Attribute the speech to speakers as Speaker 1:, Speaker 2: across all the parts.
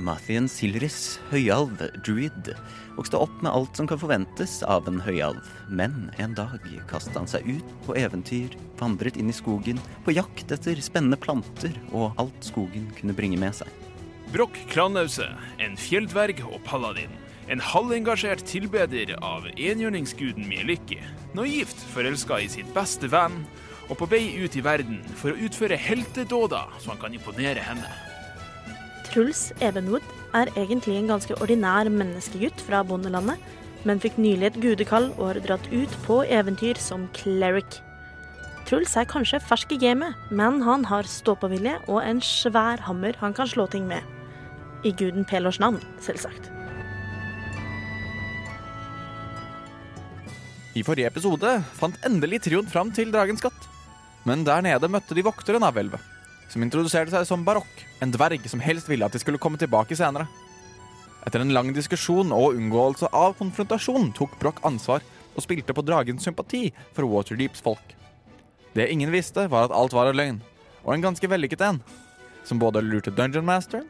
Speaker 1: Mathien Silris, høyalv, druid, vokste opp med alt som kan forventes av en høyalv. Men en dag kastet han seg ut på eventyr, vandret inn i skogen, på jakt etter spennende planter og alt skogen kunne bringe med seg.
Speaker 2: Brokk Klanause, en fjelldverg og paladin. En halvengasjert tilbeder av enhjørningsguden Mielikki. Naivt forelska i sitt beste venn, og på vei ut i verden for å utføre heltedåder så han kan imponere henne.
Speaker 3: Truls Evenwood er egentlig en ganske ordinær menneskegutt fra bondelandet, men fikk nylig et gudekall og har dratt ut på eventyr som cleric. Truls er kanskje fersk i gamet, men han har ståpåvilje og en svær hammer han kan slå ting med. I guden Pelors navn, selvsagt.
Speaker 4: I forrige episode fant endelig trioen fram til Dragens skatt. Men der nede møtte de vokteren av hvelvet, som introduserte seg som Barokk, en dverg som helst ville at de skulle komme tilbake senere. Etter en lang diskusjon og unngåelse av konfrontasjon tok Broch ansvar og spilte på dragens sympati for Waterdeeps folk. Det ingen visste, var at alt var en løgn, og en ganske vellykket en, som både lurte Dungeon Masteren,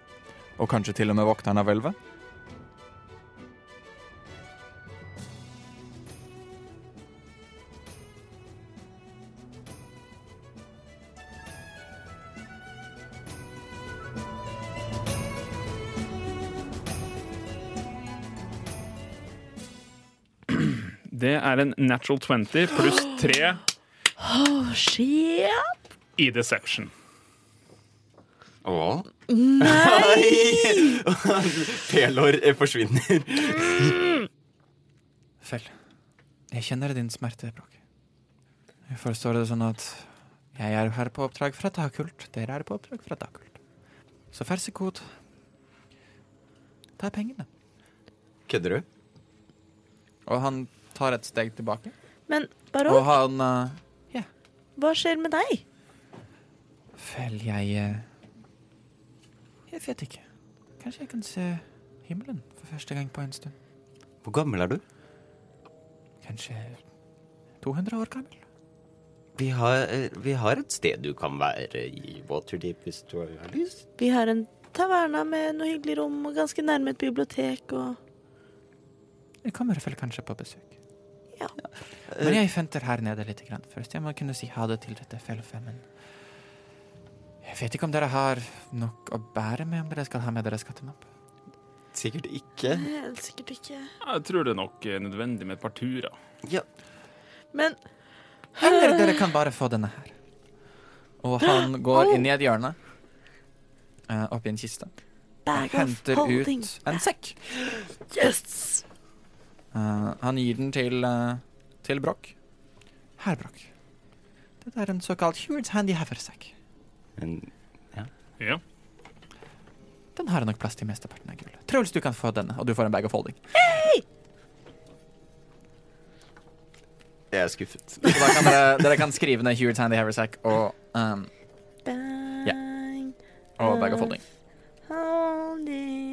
Speaker 4: og kanskje til og med vokteren av hvelvet,
Speaker 2: Det er en natural 20 pluss 3
Speaker 3: Oh, shit!
Speaker 2: i deception.
Speaker 5: Åh. Pelor eh, forsvinner.
Speaker 4: Fell, jeg kjenner din smerte, Brokk. Jeg forstår det sånn at jeg er her på oppdrag fra Dakult, dere er på oppdrag fra Dakult. Så vær så god, ta pengene.
Speaker 5: Kødder du?
Speaker 4: Og han tar et steg tilbake.
Speaker 3: Men
Speaker 4: Og
Speaker 3: Barok,
Speaker 4: han eh,
Speaker 3: hva skjer med deg?
Speaker 4: Vel, jeg eh, Jeg vet ikke. Kanskje jeg kan se himmelen for første gang på en stund.
Speaker 5: Hvor gammel er du?
Speaker 4: Kanskje 200 år gammel?
Speaker 5: Vi har, eh, vi har et sted du kan være i Waterdeep hvis du har lyst.
Speaker 3: Vi har en taverna med noe hyggelig rom og ganske nærme et bibliotek og
Speaker 4: Jeg kommer vel kanskje på besøk.
Speaker 3: Ja.
Speaker 4: Men jeg venter her nede litt grann først. Jeg må kunne si ha det til dette felfemmen. Jeg vet ikke om dere har nok å bære med om dere skal ha med dere skattemapp.
Speaker 5: Sikkert ikke.
Speaker 3: Helt sikkert ikke.
Speaker 2: Jeg tror det er nok eh, nødvendig med et par turer.
Speaker 5: Ja.
Speaker 3: Men
Speaker 4: Eller dere kan bare få denne her. Og han går
Speaker 3: Au!
Speaker 4: inn i et hjørne, eh, oppi en kiste,
Speaker 3: bag of
Speaker 4: henter
Speaker 3: holding.
Speaker 4: ut en sekk.
Speaker 3: Yes!
Speaker 4: Eh, han gir den til, uh, til Broch. Her, Broch. Dette er en såkalt Heward's Handy Haversack.
Speaker 5: Men
Speaker 2: Ja.
Speaker 4: Den har nok plass til mesteparten av gullet. Truls, du kan få denne, og du får en bag of holding.
Speaker 5: jeg er skuffet.
Speaker 4: Så da kan dere, Eh, dere kan skrive ned Heward's Handy Haversack og, um,
Speaker 3: Bang.
Speaker 4: og bag of holding.
Speaker 3: Holding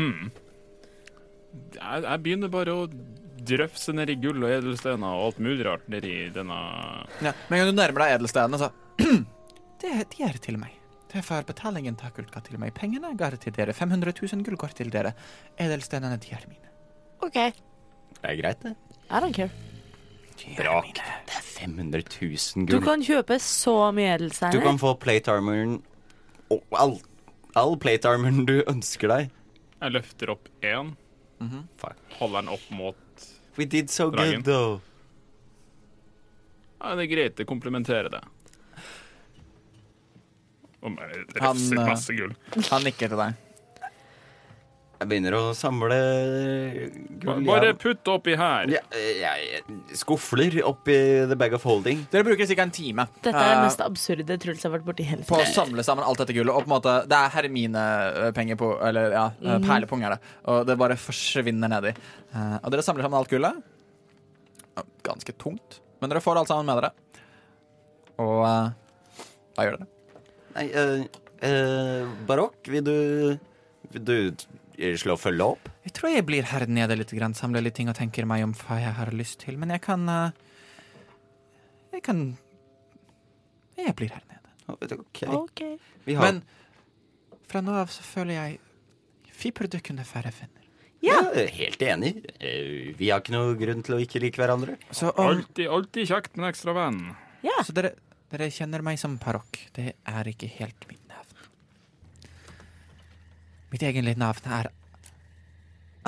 Speaker 2: Mm. Jeg, jeg begynner bare å drøfse ned i gull og edelstener og alt mulig rart nedi denne
Speaker 4: Ja, men en gang du nærmer deg edelstedene, så det, De er til meg. Det var betalingen Takult ga til meg. Pengene ga jeg til dere. 500 000 gull går til dere. Edelstedene, de er mine.
Speaker 3: OK. I
Speaker 5: Det er greit, det.
Speaker 3: don't care.
Speaker 4: De er
Speaker 5: Bra.
Speaker 4: mine.
Speaker 5: Det er 500 000
Speaker 6: Du
Speaker 5: gull.
Speaker 6: kan kjøpe så mye
Speaker 5: Du
Speaker 6: edelsteiner.
Speaker 5: kan få plate armoren og all, all plate armoren du ønsker deg.
Speaker 2: Jeg løfter opp én,
Speaker 5: Fuck.
Speaker 2: holder den opp mot
Speaker 5: We did so
Speaker 2: Dragen.
Speaker 5: good, though.
Speaker 2: Ja, det er greit, det komplementerer det. Om jeg
Speaker 4: Han, eh,
Speaker 5: eh,
Speaker 2: refser masse gull.
Speaker 4: Han nikker til deg.
Speaker 5: Jeg begynner å samle gull.
Speaker 2: Bare
Speaker 5: jeg-
Speaker 2: putt oppi her.
Speaker 5: Ja, jeg, jeg skufler oppi the bag of holding.
Speaker 7: Dere bruker ca. en time
Speaker 3: Dette er det
Speaker 7: eh,
Speaker 3: mest absurde Truls har vært borti hele
Speaker 7: på å
Speaker 3: tiden.
Speaker 7: samle sammen alt dette gullet. Og på en måte, det er
Speaker 4: eh,
Speaker 7: herminepenger på Eller ja, eh,
Speaker 3: Mhm.
Speaker 7: perlepung er det. Og det bare forsvinner nedi. Eh, Og dere samler sammen alt gullet. Ja, Ganske tungt, men dere får alt sammen med dere. Og eh, hva gjør dere?
Speaker 5: Nei, eh, eh, Barokk, vil du Vil du slå følge opp?
Speaker 7: Jeg tror jeg blir her nede litt, grann, samler litt ting og tenker meg om hva jeg har lyst til. Men jeg kan eh, Jeg kan Jeg blir her nede.
Speaker 5: OK.
Speaker 3: Ok.
Speaker 5: Vi har
Speaker 7: Men fra nå av så føler jeg Vi burde kunne være venner.
Speaker 5: ja. Helt enig. Eh, Vi har ikke noe grunn til å ikke like hverandre.
Speaker 7: Så, om,
Speaker 2: Alltid, alltid kjekt med en ekstra venn.
Speaker 3: Ja.
Speaker 7: så dere, dere kjenner meg som parokk. Det er ikke helt mitt navn. Mitt egentlige navn er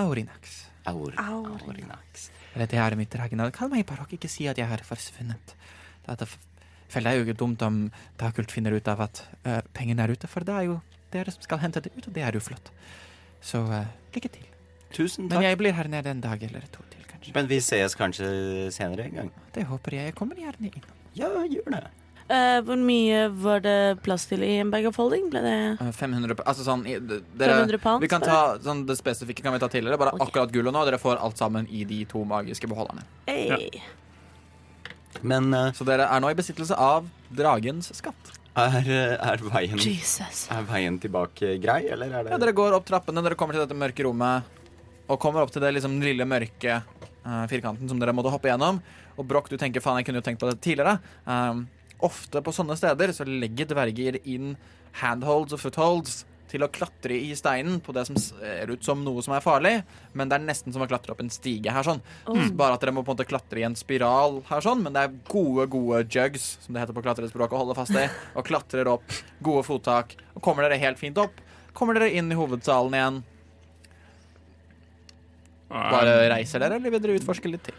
Speaker 7: Aurinax.
Speaker 5: Aur,
Speaker 3: Aurinax.
Speaker 5: Aurinax.
Speaker 7: Eller det er mitt dragenavn. Kall meg barokk, ikke si at jeg har forsvunnet. Da det f- føler jeg jo ikke dumt om Dakult finner ut av at eh, pengene er ute, for det er jo dere som skal hente det ut, og det er jo flott. Så eh, lykke til.
Speaker 5: Tusen
Speaker 7: Men
Speaker 5: takk.
Speaker 7: jeg blir her nede en dag eller to til, kanskje.
Speaker 5: Men vi ses kanskje senere en gang.
Speaker 7: Det håper jeg. Jeg kommer gjerne inn.
Speaker 5: Ja, gjør det.
Speaker 3: Eh, hvor mye var det plass til i en bag of holding? Ble det
Speaker 7: 500 Altså sånn i- d- dere,
Speaker 3: 500 pounds,
Speaker 7: Vi kan ta
Speaker 3: bare?
Speaker 7: sånn, det spesifikke kan vi ta tidligere. Bare
Speaker 3: Ok.
Speaker 7: akkurat gullet nå. Dere får alt sammen i de to magiske beholderne.
Speaker 3: Ei.
Speaker 5: Men eh,
Speaker 7: Så dere er nå i besittelse av dragens skatt.
Speaker 5: er, eh, er, veien,
Speaker 3: Jesus.
Speaker 5: er veien tilbake grei, eller er det
Speaker 7: Ja, dere går opp trappene, dere kommer til dette mørke rommet. Og kommer opp til det liksom lille mørke eh, firkanten som dere måtte hoppe gjennom. Og Broch, du tenker faen, jeg kunne jo tenkt på det tidligere. Ehm, ofte på sånne steder så legger dverger inn handholds og footholds til å klatre i steinen på det som ser ut som noe som er farlig, men det er nesten som å klatre opp en stige her sånn. Bare at dere må på en måte klatre i en spiral her sånn, men det er gode, gode jugs, som det heter på klatrespråket, å holde fast i, og klatrer opp, gode fottak, og kommer dere helt fint opp, kommer dere inn i hovedsalen igjen, bare reiser dere, eller vil dere utforske litt til?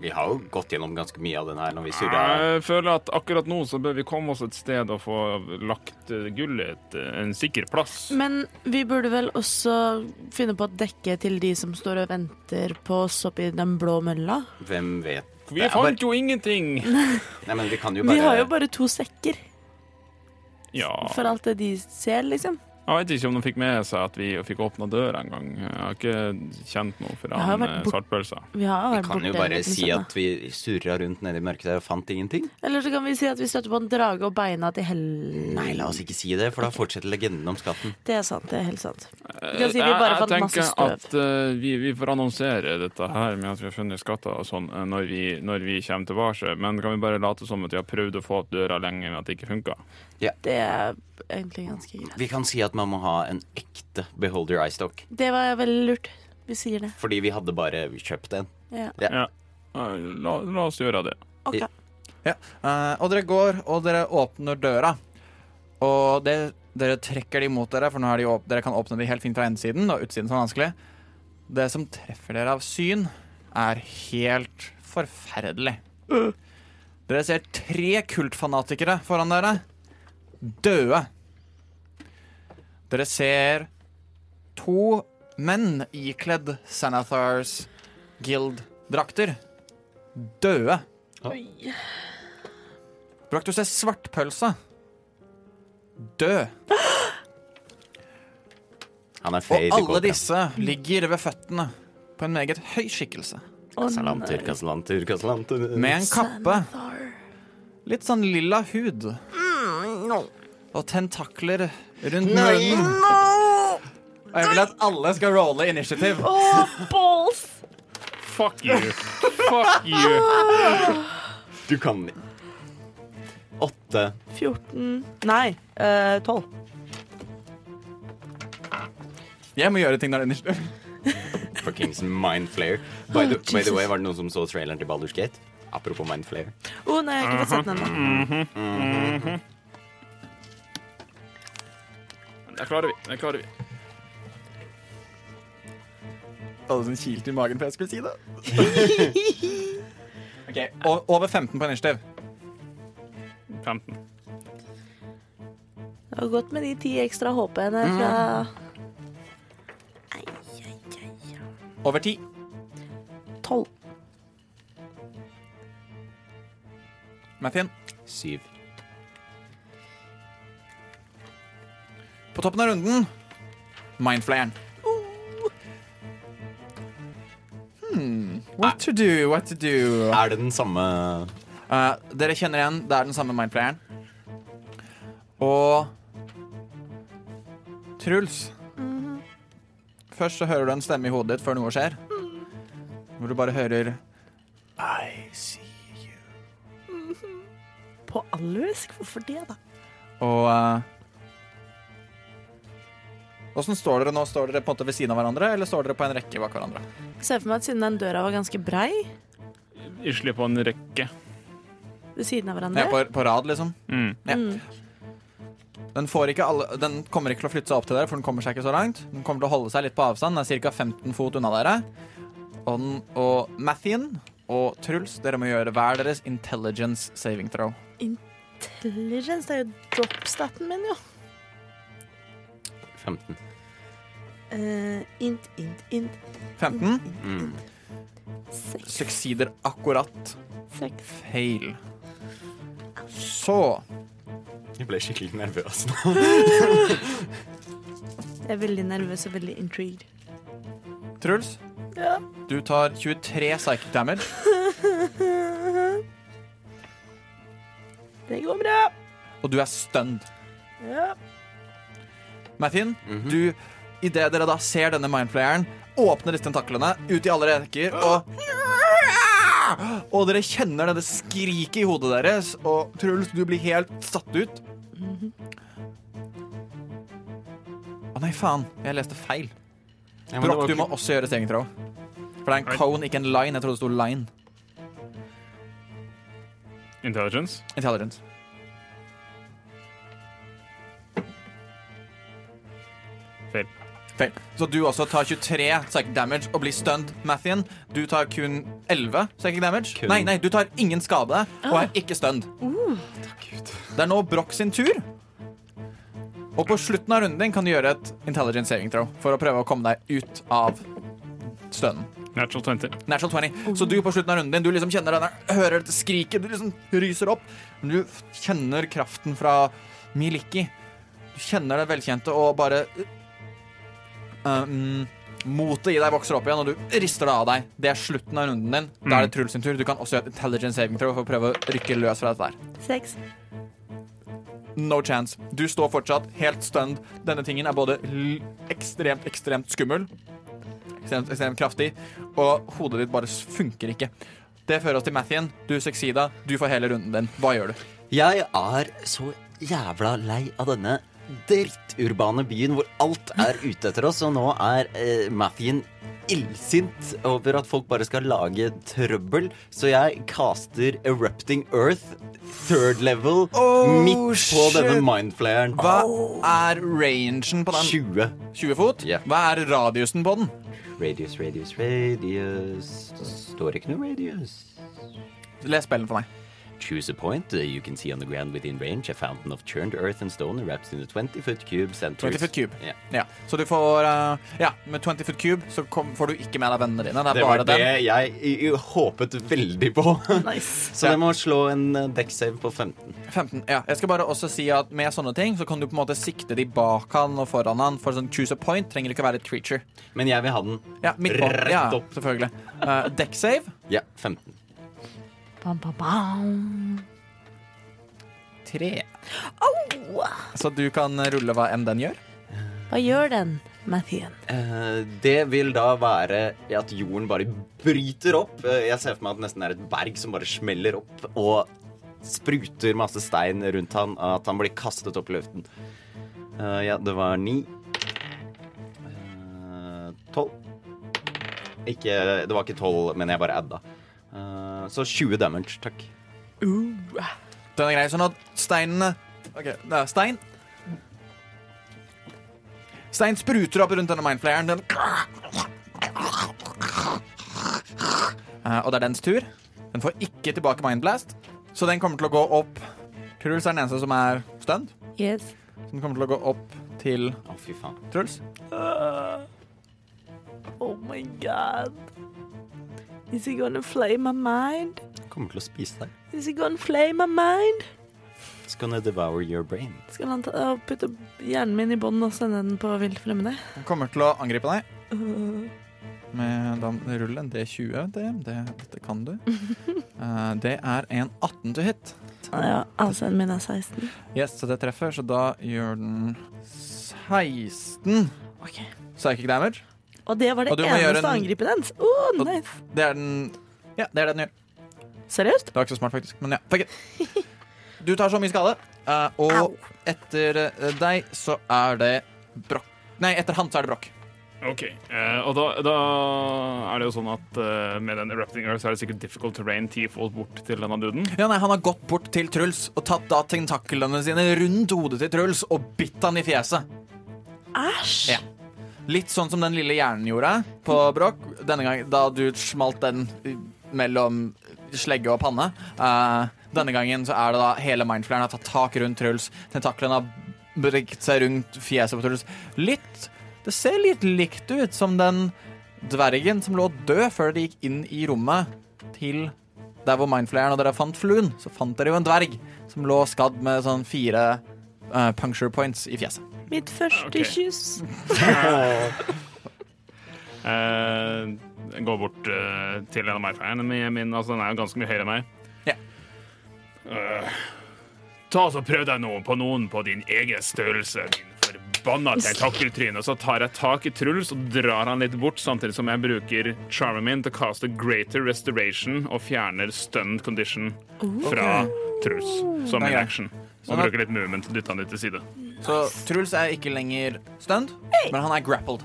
Speaker 5: Vi har jo gått gjennom ganske mye av den her når vi surra.
Speaker 2: Jeg føler at akkurat nå så bør vi komme oss et sted og få lagt eh, gullet et, eh, en sikker plass.
Speaker 3: Oh. Men vi burde vel også finne på et dekke til de som står og venter på oss oppi den blå mølla?
Speaker 5: Hvem vet?
Speaker 2: Vi fant jo ingenting!
Speaker 5: Nei, men vi kan jo bare
Speaker 3: Vi har jo bare to sekker,
Speaker 2: Ja.
Speaker 3: for alt det de ser, liksom.
Speaker 2: Jeg vet ikke om de fikk med seg at vi fikk åpna døra en gang. Jeg har ikke kjent noe for
Speaker 3: Jeg har
Speaker 2: han
Speaker 3: vært
Speaker 2: eh,
Speaker 3: bort-
Speaker 2: svartpølsa.
Speaker 3: Vi har
Speaker 5: Vi
Speaker 3: vært
Speaker 5: kan jo
Speaker 3: borte
Speaker 5: bare
Speaker 3: en liten
Speaker 5: si
Speaker 3: stund,
Speaker 5: at vi surra rundt nede i mørket der og fant ingenting.
Speaker 3: da. Eller så kan vi si at vi støtter på en drage og beina til hell...
Speaker 5: Nei, la oss ikke si det, for da fortsetter legenden om skatten.
Speaker 3: Det er sant, det er helt sant. Vi kan si vi
Speaker 2: Jeg-
Speaker 3: bare
Speaker 2: Eh, jeg
Speaker 3: fant masse
Speaker 2: tenker
Speaker 3: støv.
Speaker 2: At, eh, vi, vi får annonsere dette her med at vi har funnet skatter og sånn eh, når, vi- når vi kommer tilbake, men kan vi bare late som at vi har prøvd å få opp døra lenge, men at det ikke funka?
Speaker 3: Det er egentlig ganske greit.
Speaker 5: Vi kan si at man må ha en ekte beholder eye stock.
Speaker 3: Det var veldig lurt. Vi sier det.
Speaker 5: Fordi vi hadde bare kjøpt en.
Speaker 3: Ja.
Speaker 2: Eh, La, la oss gjøre det.
Speaker 3: Ok.
Speaker 5: Ja.
Speaker 7: Eh, og dere går, og dere åpner døra. Og det, dere trekker de mot dere, for nå er de åp dere kan åpne de helt fint fra innsiden. Og utsiden som er vanskelig. Det som treffer dere av syn, er helt forferdelig. Dere ser tre kultfanatikere foran dere. Døde. Dere ser to menn ikledd Sanathars Guild-drakter. Døde.
Speaker 3: Oi.
Speaker 7: Brakk, du ser svartpølsa. Død.
Speaker 5: Han er
Speaker 7: Og
Speaker 5: fade
Speaker 7: alle disse ligger ved føttene på en meget høy skikkelse.
Speaker 3: Å,
Speaker 5: Kasalanter,
Speaker 3: nei.
Speaker 5: kasalanter, kasalanter.
Speaker 7: Med en kappe,
Speaker 3: Sanathar.
Speaker 7: litt sånn lilla hud. Og tentakler rundt
Speaker 5: Nei.
Speaker 7: munnen. Og jeg vil at alle skal rolle initiativ.
Speaker 3: Å, balls!
Speaker 2: Fuck you! Fuck you!
Speaker 5: Du kan Åtte.
Speaker 3: 14 Nei, eh, 12.
Speaker 7: Jeg må gjøre ting når det er initiativ.
Speaker 5: Fuckings Mindflayer. By, the-
Speaker 3: Oh,
Speaker 5: by the way,
Speaker 3: Jesus.
Speaker 5: var det noen som så traileren til Baldur's Gate? Apropos Mindflayer.
Speaker 3: Å nei, jeg har ikke fått sett den ennå.
Speaker 5: Mhm.
Speaker 2: Det klarer vi. Det klarer vi.
Speaker 7: Alle som kilte i magen for jeg skulle si det. Ok, o- Over 15 på initiativ.
Speaker 2: 15.
Speaker 5: Mhm.
Speaker 3: Det var godt med de ti ekstra HP-ene fra
Speaker 4: over ti.
Speaker 3: Tolv.
Speaker 4: Mathien,
Speaker 5: Syv.
Speaker 4: på toppen av runden Mindflayeren. Hmm, what to do, what to do?
Speaker 5: Er det den samme
Speaker 4: Ah. Eh, dere kjenner igjen, det er den samme mindplayeren. Og Truls. Først så hører du en stemme i hodet ditt før noe skjer. Hvor du bare hører I see you.
Speaker 3: På alluisk? Hvorfor det, da?
Speaker 4: Og eh, Åssen står dere nå? Står dere på en måte ved siden av hverandre, eller står dere på en rekke bak hverandre?
Speaker 3: Jeg ser for meg at siden den døra var ganske brei
Speaker 8: Isle på en rekke.
Speaker 3: ved siden av
Speaker 4: Ja,
Speaker 3: hverandre
Speaker 4: på, på rad, liksom.
Speaker 8: Mm.
Speaker 4: ja.
Speaker 3: Mm.
Speaker 4: Den, får ikke alle, den kommer ikke til å flytte seg opp til dere, for den kommer seg ikke så langt. Den kommer til å holde seg litt på avstand. Den er ca. 15 fot unna dere. Og, den, og Mathien og Truls, dere må gjøre hver deres intelligence saving throw.
Speaker 3: Intelligence, det er jo dropstaten min, jo.
Speaker 5: 15?
Speaker 3: Eh, int, int, int.
Speaker 4: 15
Speaker 5: Mm.
Speaker 3: Seks.
Speaker 4: succeeder akkurat.
Speaker 3: Seks.
Speaker 4: Fail. Så
Speaker 5: Jeg ble skikkelig nervøs.
Speaker 3: Jeg er veldig nervøs og veldig intrigued.
Speaker 4: Truls,
Speaker 3: Ja.
Speaker 4: du tar 23 psychic damage.
Speaker 3: Det mhm. går bra.
Speaker 4: og du er stunned.
Speaker 3: Ja.
Speaker 4: Mathien, du, idet dere da ser denne mindflayeren, åpner disse tentaklene ut i alle rekker og Og dere kjenner dette skriket i hodet deres, og Truls, du blir helt satt ut. Å nei, faen. Jeg leste feil. Brokk, du må også gjøre stengtråd. For det er en
Speaker 8: Right.
Speaker 4: cone, ikke en line. Jeg trodde det sto line.
Speaker 8: Intelligence.
Speaker 4: Intelligence.
Speaker 8: Feil.
Speaker 4: Feil. Så du også tar 23 psychic damage og blir stunned, Mathien. Du tar kun 11 psychic damage.
Speaker 5: Kun.
Speaker 4: Nei, nei, du tar ingen skade og er ikke stunned. Det er nå Broch sin tur. Og på slutten av runden din kan du gjøre et intelligent saving throw for å prøve å komme deg ut av stønnen.
Speaker 8: Natural 20.
Speaker 4: Natural 20. sånn Så du på slutten av runden din, du liksom kjenner denne, hører dette skriket, du liksom ryser opp. Men du f- kjenner kraften fra Miliki. Du kjenner det velkjente og bare um, Motet i deg vokser opp igjen, og du rister det av deg. Det er slutten av runden din. Da er det Truls sin tur. Du kan også gjøre et intelligent saving throw for å prøve å rykke løs fra dette der.
Speaker 3: Seks.
Speaker 4: No chance. Du står fortsatt helt stunned. Denne tingen er både l ekstremt, ekstremt skummel, ekstremt, ekstremt kraftig, og hodet ditt bare s- funker ikke. Det fører oss til Mathien. Du succeeda. Du får hele runden din. Hva gjør du?
Speaker 5: Jeg er så jævla lei av denne dritturbane byen hvor alt er ute etter oss, og nå er eh, Mathien illsint over at folk bare skal lage trøbbel, så jeg caster Erupting Earth third level
Speaker 4: Oh,
Speaker 5: midt på
Speaker 4: shit.
Speaker 5: denne mindflayeren.
Speaker 4: Hva er rangen på den?
Speaker 5: 20.
Speaker 4: 20 fot?
Speaker 5: Ja.
Speaker 4: Hva er radiusen på den?
Speaker 5: Radius, radius, radius Står ikke noe radius.
Speaker 4: Les spillen for meg.
Speaker 5: Choose a point uh, you can see on the ground within range, a fountain of churned earth and stone wrapped in a 20 foot cube. centers-
Speaker 4: 20 foot cube.
Speaker 5: Ja.
Speaker 4: Ja, så du får eh, Ja, med 20 foot cube så kom, får du ikke med deg vennene dine. Det
Speaker 5: Det
Speaker 4: er
Speaker 5: var
Speaker 4: bare
Speaker 5: det
Speaker 4: den.
Speaker 5: jeg i- i- håpet veldig på.
Speaker 3: Nice.
Speaker 5: Så jeg må slå en eh, dekksave på 15.
Speaker 4: 15, ja. Jeg skal bare også si at med sånne ting så kan du på en måte sikte de bak han og foran han. For sånn choose a point trenger ikke å være et creature.
Speaker 5: Men jeg vil ha den
Speaker 4: Ja, midt på.
Speaker 5: rett
Speaker 4: Ja,
Speaker 5: opp.
Speaker 4: selvfølgelig. Uh, deck save.
Speaker 5: Ja, 15.
Speaker 3: Bam, bam, bam.
Speaker 4: Tre. Så du kan rulle hva enn den gjør.
Speaker 3: Hva gjør den, Mathien?
Speaker 5: Eh, det vil da være at jorden bare bryter opp. Eh, jeg ser for meg at det nesten er et berg som bare smeller opp og spruter masse stein rundt han, og at han blir kastet opp i luften. Eh, ja, det var ni. Eh, Tolv. Ikke Det var ikke tolv, men jeg bare adda. Eh, så 20 damage, takk.
Speaker 4: Den er grei, sånn at steinene Ok, det er stein. Stein spruter opp rundt denne mindflayeren. Den Eh, Og det er dens tur. Den får ikke tilbake mindblast, så den kommer til å gå opp Truls er den eneste som er stunned.
Speaker 3: Yes.
Speaker 4: Så den kommer til å gå opp til
Speaker 5: Å, fy faen.
Speaker 4: Truls.
Speaker 3: Ah. Oh my god. Is he gonna flay my mind?
Speaker 5: Kommer til å spise deg.
Speaker 3: Is he gonna flay my mind?
Speaker 5: It's gonna devour your brain.
Speaker 3: Skal han ta, og putte hjernen min i bånd og sende den på vilt fremmede?
Speaker 4: Han kommer til å angripe deg.
Speaker 3: Øh,
Speaker 4: Med da ruller en D20. Det, det, dette kan du. Eh, det er en 18 to hit.
Speaker 3: ja, AC-en min er 16.
Speaker 4: Yes, så det treffer, så da gjør den 16
Speaker 3: Ok.
Speaker 4: psychic damage.
Speaker 3: Og det var det
Speaker 4: Og du må gjøre
Speaker 3: eneste
Speaker 4: en-
Speaker 3: angrepet dens. Oh,
Speaker 4: Og-
Speaker 3: nice.
Speaker 4: Det er den Ja, det er det den gjør.
Speaker 3: Seriøst?
Speaker 4: Det var ikke så smart, faktisk. Men ja, fuck it. Du tar så mye skade, eh, og
Speaker 3: Au.
Speaker 4: etter eh, deg så er det brokk. Nei, etter han så er det brokk.
Speaker 8: OK. eh, og da, da er det jo sånn at eh, med den erupting earth så er det sikkert difficult terrain ti fold bort til denne duden.
Speaker 2: Mm.
Speaker 4: Ja, nei, Han har gått bort til Truls og tatt da tentaklene sine rundt hodet til Truls og bitt han i fjeset.
Speaker 3: Æsj!
Speaker 4: Ja. Litt sånn som den lille hjernen gjorde på brokk denne gang da du smalt den mellom slegge og panne. Eh, denne gangen så er det da hele mindflaren har tatt tak rundt Truls. Tentaklene har brygget seg rundt fjeset på Truls. Litt Det ser litt likt ut som den dvergen som lå død før de gikk inn i rommet til der hvor mindflaren og dere fant fluen. Så fant dere jo en dverg som lå skadd med sånn fire eh, puncture points i fjeset.
Speaker 3: Mitt første
Speaker 8: Ok.
Speaker 3: kyss.
Speaker 8: Eh, jeg går bort eh, til en av mindflayerne min, min. Altså, den er jo ganske mye høyere enn meg.
Speaker 4: Ja.
Speaker 8: Eh, ta og så Prøv deg nå på noen på din egen størrelse, din forbanna tentakeltryne. Og så tar jeg tak i Truls og drar han litt bort, samtidig som jeg bruker charmen min til å kaste Greater Restoration og fjerner stunned condition fra Truls som
Speaker 4: Det er
Speaker 8: en
Speaker 4: greit.
Speaker 8: action. Så
Speaker 4: Og da-
Speaker 8: bruker litt movement til å dytte han litt til side.
Speaker 4: Så Truls er ikke lenger stunned, men han er grappled.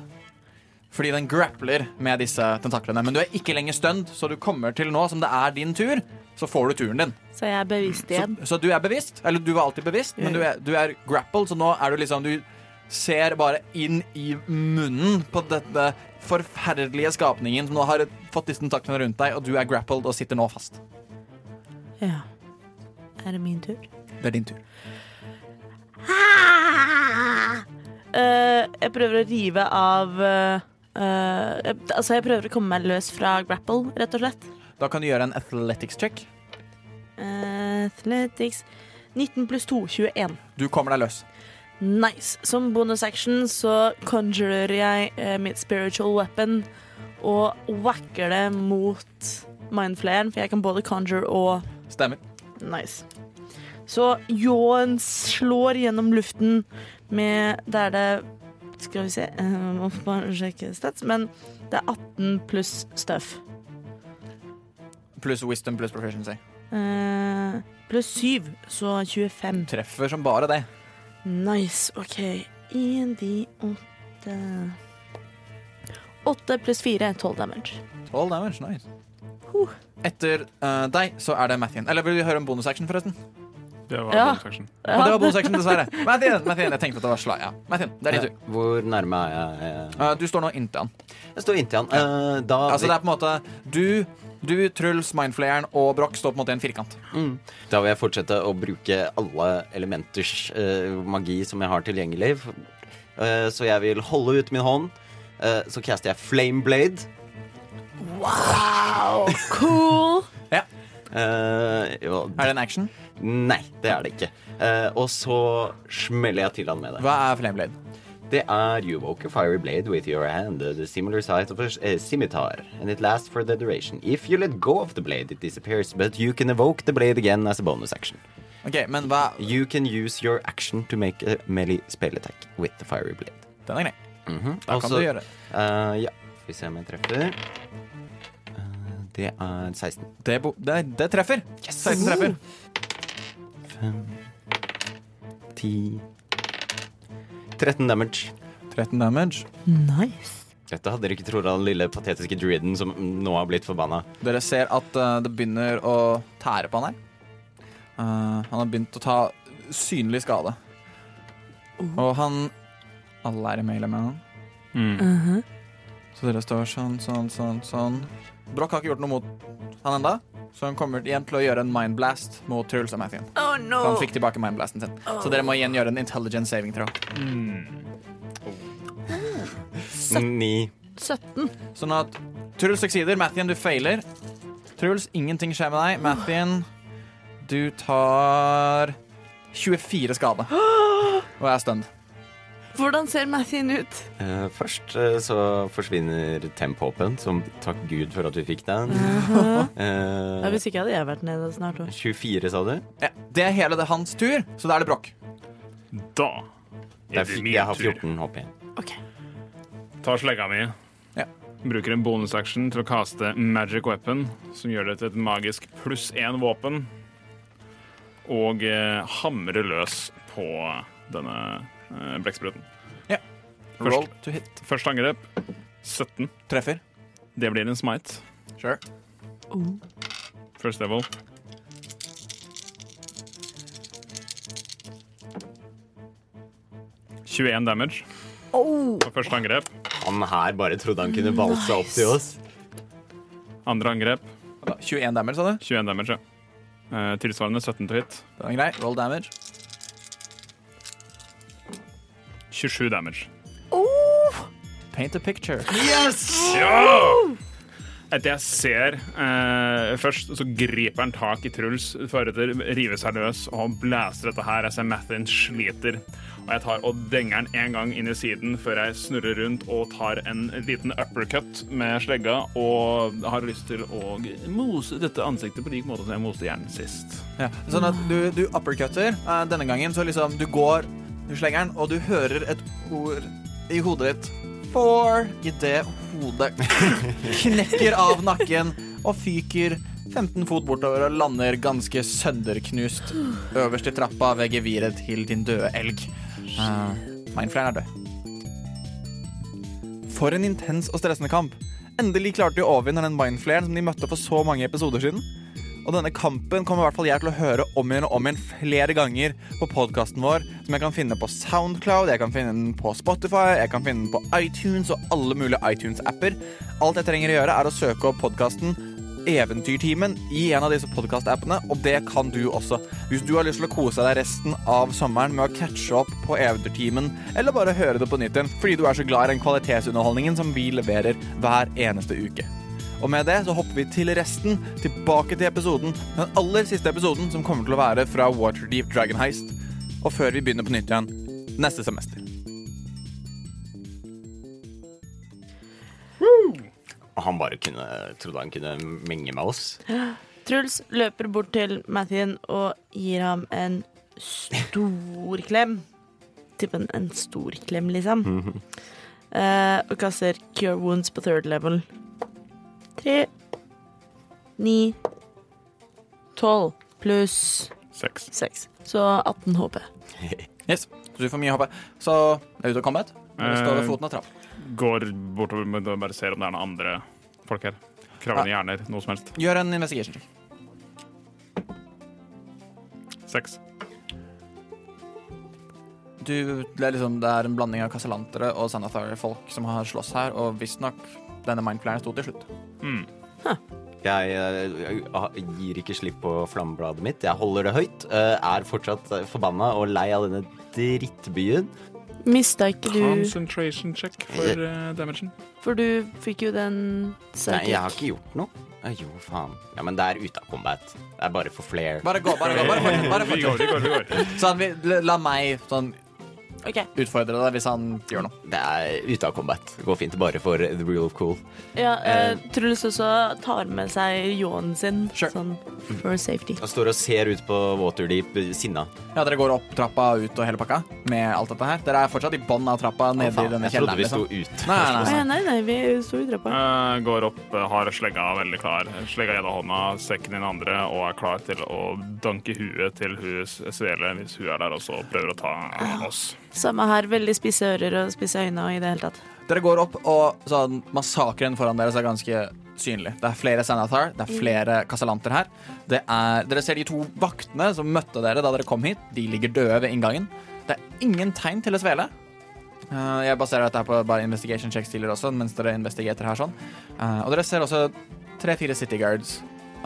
Speaker 4: Fordi den grappler med disse tentaklene. Men du er ikke lenger stunned, så du kommer til nå som det er din tur, så får du turen din.
Speaker 3: Så jeg er bevisst
Speaker 4: Så,
Speaker 3: igjen.
Speaker 4: så du er bevisst, eller du var alltid bevisst, men du er, du er grappled, så nå er du liksom Du ser bare inn i munnen på dette forferdelige skapningen som nå har fått disse tentaklene rundt deg, og du er grappled og sitter nå fast.
Speaker 3: Ja. Er det min tur?
Speaker 4: Det er din tur.
Speaker 3: Eh, jeg prøver å rive av eh, eh, jeg- Altså, jeg prøver å komme meg løs fra grapple, rett og slett.
Speaker 4: Da kan du gjøre en athletics check.
Speaker 3: Eh, athletics 19 pluss 2, 21.
Speaker 4: Du kommer deg løs.
Speaker 3: Nice. Som bonusaction så conjurer jeg eh, mitt spiritual weapon og whacker det mot mindflayeren, for jeg kan både conjure og
Speaker 4: Stemmer.
Speaker 3: Nice. Så ljåen slår gjennom luften med Der det Skal vi se, jeg må bare sjekke stats, men det er 18 pluss stuff.
Speaker 4: Pluss wisdom pluss proficiency.
Speaker 3: Eh, pluss 7, så 25.
Speaker 4: Treffer som bare det.
Speaker 3: Nice. OK. 1, de 8 8 pluss 4, 12 damage.
Speaker 4: 12 damage, nice.
Speaker 3: Huh.
Speaker 4: Etter eh, deg så er det Mathien. Eller vil du høre om bonusaction, forresten?
Speaker 8: Det var
Speaker 3: Ja.
Speaker 8: bonus action.
Speaker 4: Ja. det var bonusaction, dessverre. Mathien, Mathien, jeg tenkte at det var slag. Ja. Mathien, det er din tur.
Speaker 5: Eh, Hvor nærme er jeg?
Speaker 4: Eh, du står nå inntil han.
Speaker 5: Jeg står inntil han. Eh, Da
Speaker 4: Altså det er på en måte Du, du Truls, Mindflayeren og Broch står på en måte i en firkant.
Speaker 5: Mm. Da vil jeg fortsette å bruke alle elementers eh, magi som jeg har tilgjengelig. F- eh, så jeg vil holde ut min hånd. eh, så caster jeg Flame Blade.
Speaker 3: Wow! Cool!
Speaker 4: Ja.
Speaker 5: Eh, jo,
Speaker 4: Er det en action?
Speaker 5: nei, det er det ikke. Eh, og så smeller jeg til han med det.
Speaker 4: Hva er Flameblade?
Speaker 5: Det er You woke a fiery blade with your hand, the similar size of a eh, scimitar, and it lasts for the duration. If you let go of the blade, it disappears, but you can evoke the blade again as a bonus action.
Speaker 4: Ok, men hva
Speaker 5: You can use your action to make a melee spell attack with the fiery blade.
Speaker 4: Den er grei. Da kan
Speaker 5: Altså,
Speaker 4: du gjøre
Speaker 5: eh, ja, får vi se om jeg treffer. Eh, det er 16.
Speaker 4: Det, bo- det, det treffer. 16 treffer.
Speaker 5: 10 13 damage.
Speaker 4: 13 damage.
Speaker 3: Nice.
Speaker 5: Dette hadde dere ikke trodd av den lille patetiske druiden som nå har blitt forbanna.
Speaker 4: Dere ser at eh, det begynner å tære på han her. Eh, han har begynt å ta synlig skade. Og han Alle er i mailet med han.
Speaker 8: Mm.
Speaker 3: Uh-huh.
Speaker 4: Så dere står sånn, sånn, sånn, sånn. Broch har ikke gjort noe mot han enda så han kommer igjen til å gjøre en mindblast mot Truls og Mathien.
Speaker 3: Oh
Speaker 4: For
Speaker 3: no!
Speaker 4: han fikk tilbake mindblasten sin. Så dere må igjen gjøre en intelligent saving throw.
Speaker 5: 9
Speaker 3: 17.
Speaker 4: Sånn at Truls succeeder, Mathien, du feiler. Truls, ingenting skjer med deg. Mathien, du tar 24 skade. Og er stunned.
Speaker 9: Hvordan ser Mathien ut?
Speaker 5: Eh, først eh, så forsvinner temp-hopen, som takk Gud for at vi fikk den.
Speaker 3: Ja,
Speaker 5: Eh,
Speaker 3: hvis ikke hadde jeg vært nede snart. tror jeg.
Speaker 5: 24, sa du?
Speaker 4: Ja, det er hele det hans tur, så da er det brokk.
Speaker 2: Da
Speaker 5: Det
Speaker 2: er
Speaker 5: er
Speaker 2: det
Speaker 5: fi-
Speaker 2: min
Speaker 5: jeg har
Speaker 2: tur.
Speaker 5: 14 hopp igjen.
Speaker 3: Ok.
Speaker 2: Tar slegga mi.
Speaker 4: Ja.
Speaker 2: Bruker en bonusaction til å kaste magic weapon, som gjør det til et magisk pluss én våpen. Og eh, hamrer løs på denne eh, blekkspruten. Først.
Speaker 4: Roll to hit.
Speaker 2: Første angrep 17.
Speaker 4: Treffer.
Speaker 2: Det blir en smite.
Speaker 4: Sure.
Speaker 3: Oh.
Speaker 2: First level. «21 damage
Speaker 3: Oh.
Speaker 2: på første angrep.
Speaker 5: Han her bare trodde han kunne valse opp til oss.
Speaker 2: Andre angrep
Speaker 4: Og da, 21 damage, sa du?
Speaker 2: 21 damage, ja. Eh, tilsvarende 17 til hit.
Speaker 4: Det var grei. Roll damage.
Speaker 2: 27 damage.
Speaker 4: Paint a picture.
Speaker 2: Etter jeg ser eh, Først så griper han tak i Truls, foreter river seg løs og han blæser dette her. Jeg ser Mathien sliter. Og jeg tar og denger den en gang inn i siden før jeg snurrer rundt og tar en liten uppercut med slegga og har lyst til å mose dette ansiktet på lik måte som jeg moste hjernen sist.
Speaker 4: Ja. Sånn at du, du uppercutter. Eh, Denne gangen så liksom du går, du slenger den, og du hører et ord i hodet ditt. For idet hodet knekker av nakken og fyker 15 fot bortover og lander ganske sønderknust øverst i trappa ved geviret til din døde elg. Uh, Mindflaren er død. For en intens og stressende kamp. Endelig klarte de å overvinne den mindflaren som de møtte for så mange episoder siden. Og denne kampen kommer i hvert fall jeg til å høre om igjen og om igjen flere ganger på podkasten vår, som jeg kan finne på Soundcloud, jeg kan finne den på Spotify, jeg kan finne den på iTunes og alle mulige iTunes-apper. Alt jeg trenger å gjøre, er å søke opp podkasten Eventyrtimen i en av disse podkastappene, og det kan du også. Hvis du har lyst til å kose deg resten av sommeren med å catche opp på Eventyrtimen, eller bare høre det på nytt igjen fordi du er så glad i den kvalitetsunderholdningen som vi leverer hver eneste uke. Og med det så hopper vi til resten, tilbake til episoden. Den aller siste episoden som kommer til å være fra Waterdeep Dragon Heist. Og før vi begynner på nytt igjen neste semester.
Speaker 5: Og han bare kunne, trodde han kunne menge med oss.
Speaker 3: Truls løper bort til Mathien og gir ham en stor klem. Typ en, en stor klem, liksom. Eh, og kaster Cure Wounds på third level. Tre, ni, tolv pluss
Speaker 2: Seks.
Speaker 3: seks. Så 18 HP.
Speaker 4: Yes, Så du får mye HP. Så er du ute av combat? Eller
Speaker 2: Hm.
Speaker 4: Står ved foten av trappa.
Speaker 2: Eh, Går bortover men da bare ser om det er noen andre folk her. Kravende hjerner, noe som helst.
Speaker 4: Gjør en investigation check.
Speaker 2: Seks.
Speaker 4: Du, det, er liksom, det er en blanding av kasalantere og Sanathar-folk som har slåss her, og visstnok denne mindflaren sto til slutt.
Speaker 2: Hmm.
Speaker 5: Jeg, eh, jeg gir ikke slipp på flammebladet mitt. Jeg holder det høyt. eh, Er fortsatt eh, forbanna og lei av denne drittbyen.
Speaker 3: Mista ikke du
Speaker 2: Concentration check for eh, damagen.
Speaker 3: For du fikk jo den
Speaker 5: Nei, jeg har
Speaker 3: psychic.
Speaker 5: ikke gjort noe. Eh, Jo, faen. Ja, Men det er ute av combat. Det er bare for flair.
Speaker 4: Bare gå, bare gå. bare fortsett, bare
Speaker 2: Vi går,
Speaker 4: fortsett.
Speaker 2: vi går, vi går.
Speaker 4: Sånn, vi, la meg sånn,
Speaker 3: Ok,
Speaker 4: utfordre deg hvis han gjør noe.
Speaker 5: Det er ute av combat. Det går fint bare for the real of cool.
Speaker 3: ja, eh, Truls også tar med seg ljåen sin
Speaker 4: Sure.
Speaker 3: sånn for safety.
Speaker 5: Han står og ser ut på Waterdeep eh, sinna.
Speaker 4: Ja, Dere går opp trappa og ut og hele pakka med alt dette her? Dere er fortsatt i bånn av trappa
Speaker 5: Å,
Speaker 4: nede i
Speaker 5: faen,
Speaker 4: denne
Speaker 5: jeg trodde
Speaker 4: kjelleren?
Speaker 5: vi sto
Speaker 4: Liksom.
Speaker 5: ut.
Speaker 4: Nei, nei,
Speaker 3: Å
Speaker 4: nei.
Speaker 3: ja, nei, nei, vi står i trappa.
Speaker 2: Eh, går opp, eh, har slegga veldig klar. Slegga i ene hånda, sekken i den andre, og er klar til å danke huet til hun s- svele hvis hun er der også og prøver å ta
Speaker 5: Ah.
Speaker 2: oss.
Speaker 3: Samme her. Veldig spisse ører og spisse øyne og i det hele tatt.
Speaker 4: Dere går opp, og sånn, massakren foran deres er ganske synlig. Det er flere Sanathar, det er flere kasalanter her. Det er, dere ser de to vaktene som møtte dere da dere kom hit. De ligger døde ved inngangen. Det er ingen tegn til å svele. Eh, jeg baserer dette her på bare investigation checks tidligere også, mens dere investigerer her sånn. Eh, og dere ser også tre-fire city guards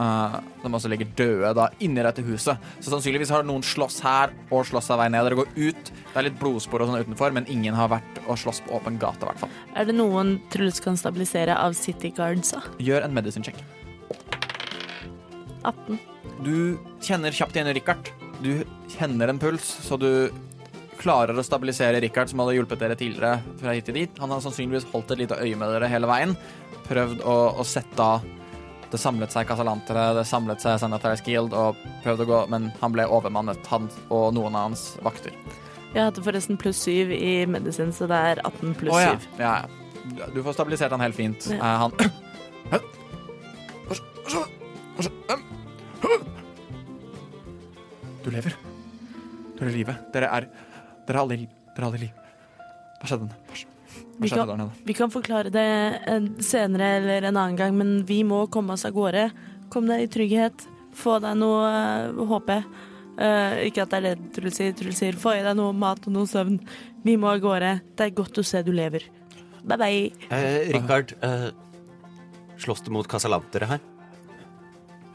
Speaker 4: eh, som også ligger døde da inni dette huset. Så sannsynligvis har noen slåss her og slåss seg vei ned. Dere går ut. Det er litt blodspor og sånn utenfor, men ingen har vært og slåss på åpen gate, i hvert fall.
Speaker 3: Er det noen Truls kan stabilisere av City Guardsa?
Speaker 4: Gjør en medicine check.
Speaker 3: 18.
Speaker 4: Du kjenner kjapt igjen Richard. Du kjenner en puls, så du klarer å stabilisere Richard, som hadde hjulpet dere tidligere fra hit til dit. Han har sannsynligvis holdt et lite øye med dere hele veien. Prøvd å, å sette av Det samlet seg kasalantere, det samlet seg Sanitarius Guild, og prøvde å gå, men han ble overmannet, han og noen av hans vakter.
Speaker 3: Jeg hadde forresten pluss 7 i medisin, så det er 18 pluss
Speaker 4: Å,
Speaker 3: 7.
Speaker 4: ja. Ja, ja. Du får stabilisert han helt fint.
Speaker 3: Ja.
Speaker 4: Eh, han Hæ? Du lever. Du er i live. Dere er Dere er alle i liv. Dere er alle i liv. Hva skjedde? Hva
Speaker 3: Vi
Speaker 4: skjedde
Speaker 3: kan-
Speaker 4: der nede?
Speaker 3: Vi kan forklare det eh, senere eller en annen gang, men vi må komme oss av gårde. Kom deg i trygghet. Få deg noe eh, HP. Eh, ikke at det er det Truls sier. Truls sier få i deg noe mat og noe søvn. Vi må av gårde. Det er godt å se du lever. Bye bye.
Speaker 5: Eh, Richard, eh, slåss du mot kasalantere her?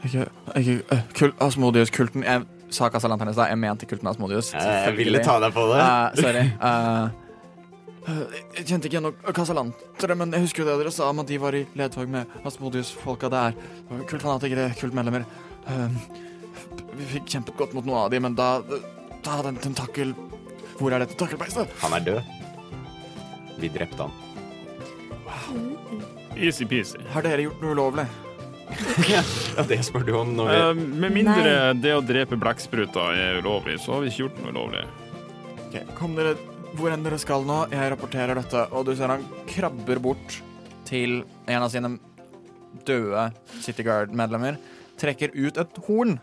Speaker 4: Ikke, ikke eh, kul, Asmodius-kulten Jeg sa Casalanternes da. Jeg mente kulten Asmodius.
Speaker 5: Eh, Jeg ville ta deg på det.
Speaker 4: Eh, sorry. Eh, eh, jeg kjente ikke igjen noe kasalantere, men jeg husker jo det dere sa om at de var i ledtog med Asmodius-folka der. Det var Kultfanatikere, kultmedlemmer. Eh, vi fikk kjempet godt mot noen av de, men da Da hadde en tentakel Hvor er det tentakelbeistet?
Speaker 5: Han er død. Vi drepte han.
Speaker 2: Easy-peasy.
Speaker 4: Har dere gjort noe ulovlig?
Speaker 5: Ja, det spør du om når vi
Speaker 2: Eh, med mindre det å drepe blekkspruter er ulovlig, så har vi ikke gjort noe ulovlig.
Speaker 4: Ok, Kom dere hvor enn dere skal nå. Jeg rapporterer dette. Og du ser han krabber bort til en av sine døde City Guard-medlemmer. Trekker ut et horn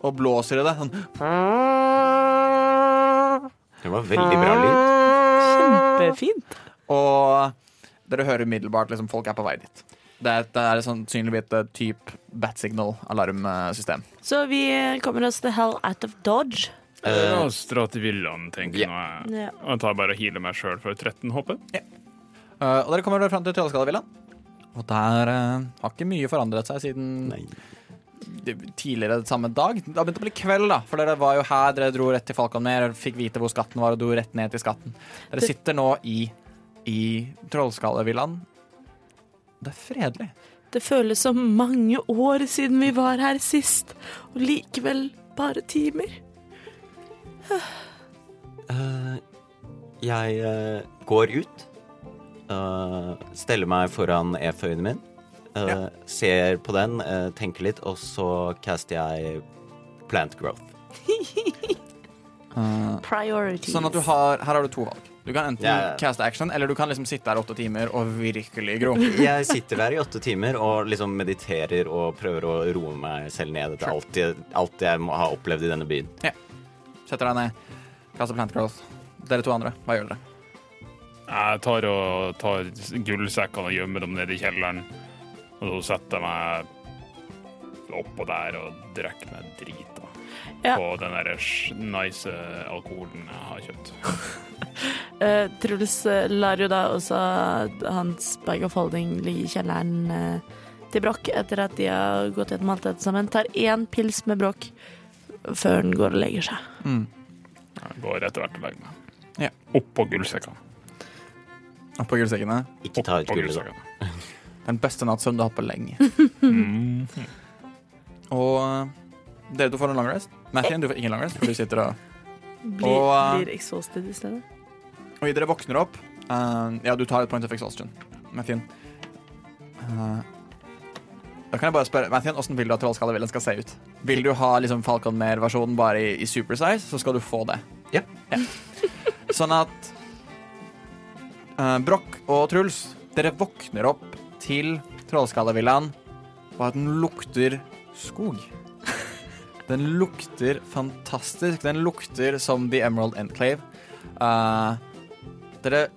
Speaker 4: og blåser i det. Sånn.
Speaker 5: Det var veldig bra lyd.
Speaker 3: Kjempefint.
Speaker 4: Og dere hører umiddelbart liksom, folk er på vei dit. Det er, det er sannsynligvis et eh, type bat signal-alarmsystem.
Speaker 3: Så vi eh, kommer oss the hell out of dodge.
Speaker 5: Eh,
Speaker 2: Ja, dra til villaen, tenker
Speaker 5: ja.
Speaker 2: jeg nå jeg.
Speaker 3: Ja.
Speaker 2: Og jeg tar bare og healer meg sjøl for 13 hoppet.
Speaker 4: Eh, og dere kommer dere fram til Trolleskallavillaen. Og der eh, har ikke mye forandret seg siden
Speaker 5: Nei.
Speaker 4: det- tidligere samme dag. Det har begynt å bli kveld, da. For dere var jo her, dere dro rett til Falkonmer, fikk vite hvor skatten var, og dro rett ned til skatten. Dere
Speaker 3: Det-
Speaker 4: sitter nå i, i Trollskallevillaen. Det er fredelig.
Speaker 3: Det føles som mange år siden vi var her sist, og likevel bare timer.
Speaker 5: eh, jeg eh, går ut. eh, steller meg foran EF-øyene min. eh, Ser på den, eh, tenker litt, og så caster jeg plant growth.
Speaker 4: Eh,
Speaker 3: Priorities.
Speaker 4: sånn at du har Her har du to valg. Du kan enten
Speaker 5: Ja, ja.
Speaker 4: caste action, eller du kan liksom sitte her åtte timer og virkelig gro.
Speaker 5: Jeg sitter der i åtte timer og liksom mediterer og prøver å roe meg selv ned etter alt jeg, alt jeg må ha opplevd i denne byen.
Speaker 4: Setter deg ned, kaster plant growth. Dere to andre, hva gjør dere?
Speaker 2: Jeg tar, og, tar gullsekkene og gjemmer dem nede i kjelleren. Og så setter jeg meg oppå der og drikker meg drita
Speaker 3: Ja.
Speaker 2: på den der sj- nice eh, alkoholen jeg har kjøpt.
Speaker 3: Eh, Truls eh, lar jo da også hans bag of holding ligge i kjelleren eh, til Brokk etter at de har gått gjennom alt dette sammen. Tar én pils med Brokk før han går og legger seg.
Speaker 2: Jeg går etter hvert og legger meg.
Speaker 4: Ja.
Speaker 2: Oppå gullsekkene.
Speaker 4: Oppå gullsekkene.
Speaker 5: Ikke ta ut
Speaker 2: Oppå
Speaker 5: gullet, da.
Speaker 2: gullsekkene.
Speaker 4: Den beste nattsøvn du har hatt på lenge.
Speaker 2: Mm.
Speaker 4: Og eh, dere to får en long rest. Matthew, du får ingen long rest, for du sitter og
Speaker 3: Blir,
Speaker 4: Og, eh,
Speaker 3: blir exhausted i stedet.
Speaker 4: Og dere våkner opp eh, Ja, du tar et point of exhaustion Mathien Eh, Da kan jeg bare spørre Mathien, hvordan vil du at Trollskallevillen skal se ut? Vil du ha liksom Falconmer-versjonen bare i, i supersize Så skal du få det
Speaker 5: Ja.
Speaker 4: Sånn at eh, Brock og Truls Dere våkner opp til Trollskallevillen Og at den lukter skog Den lukter fantastisk Den lukter som The Emerald Enclave Eh, dere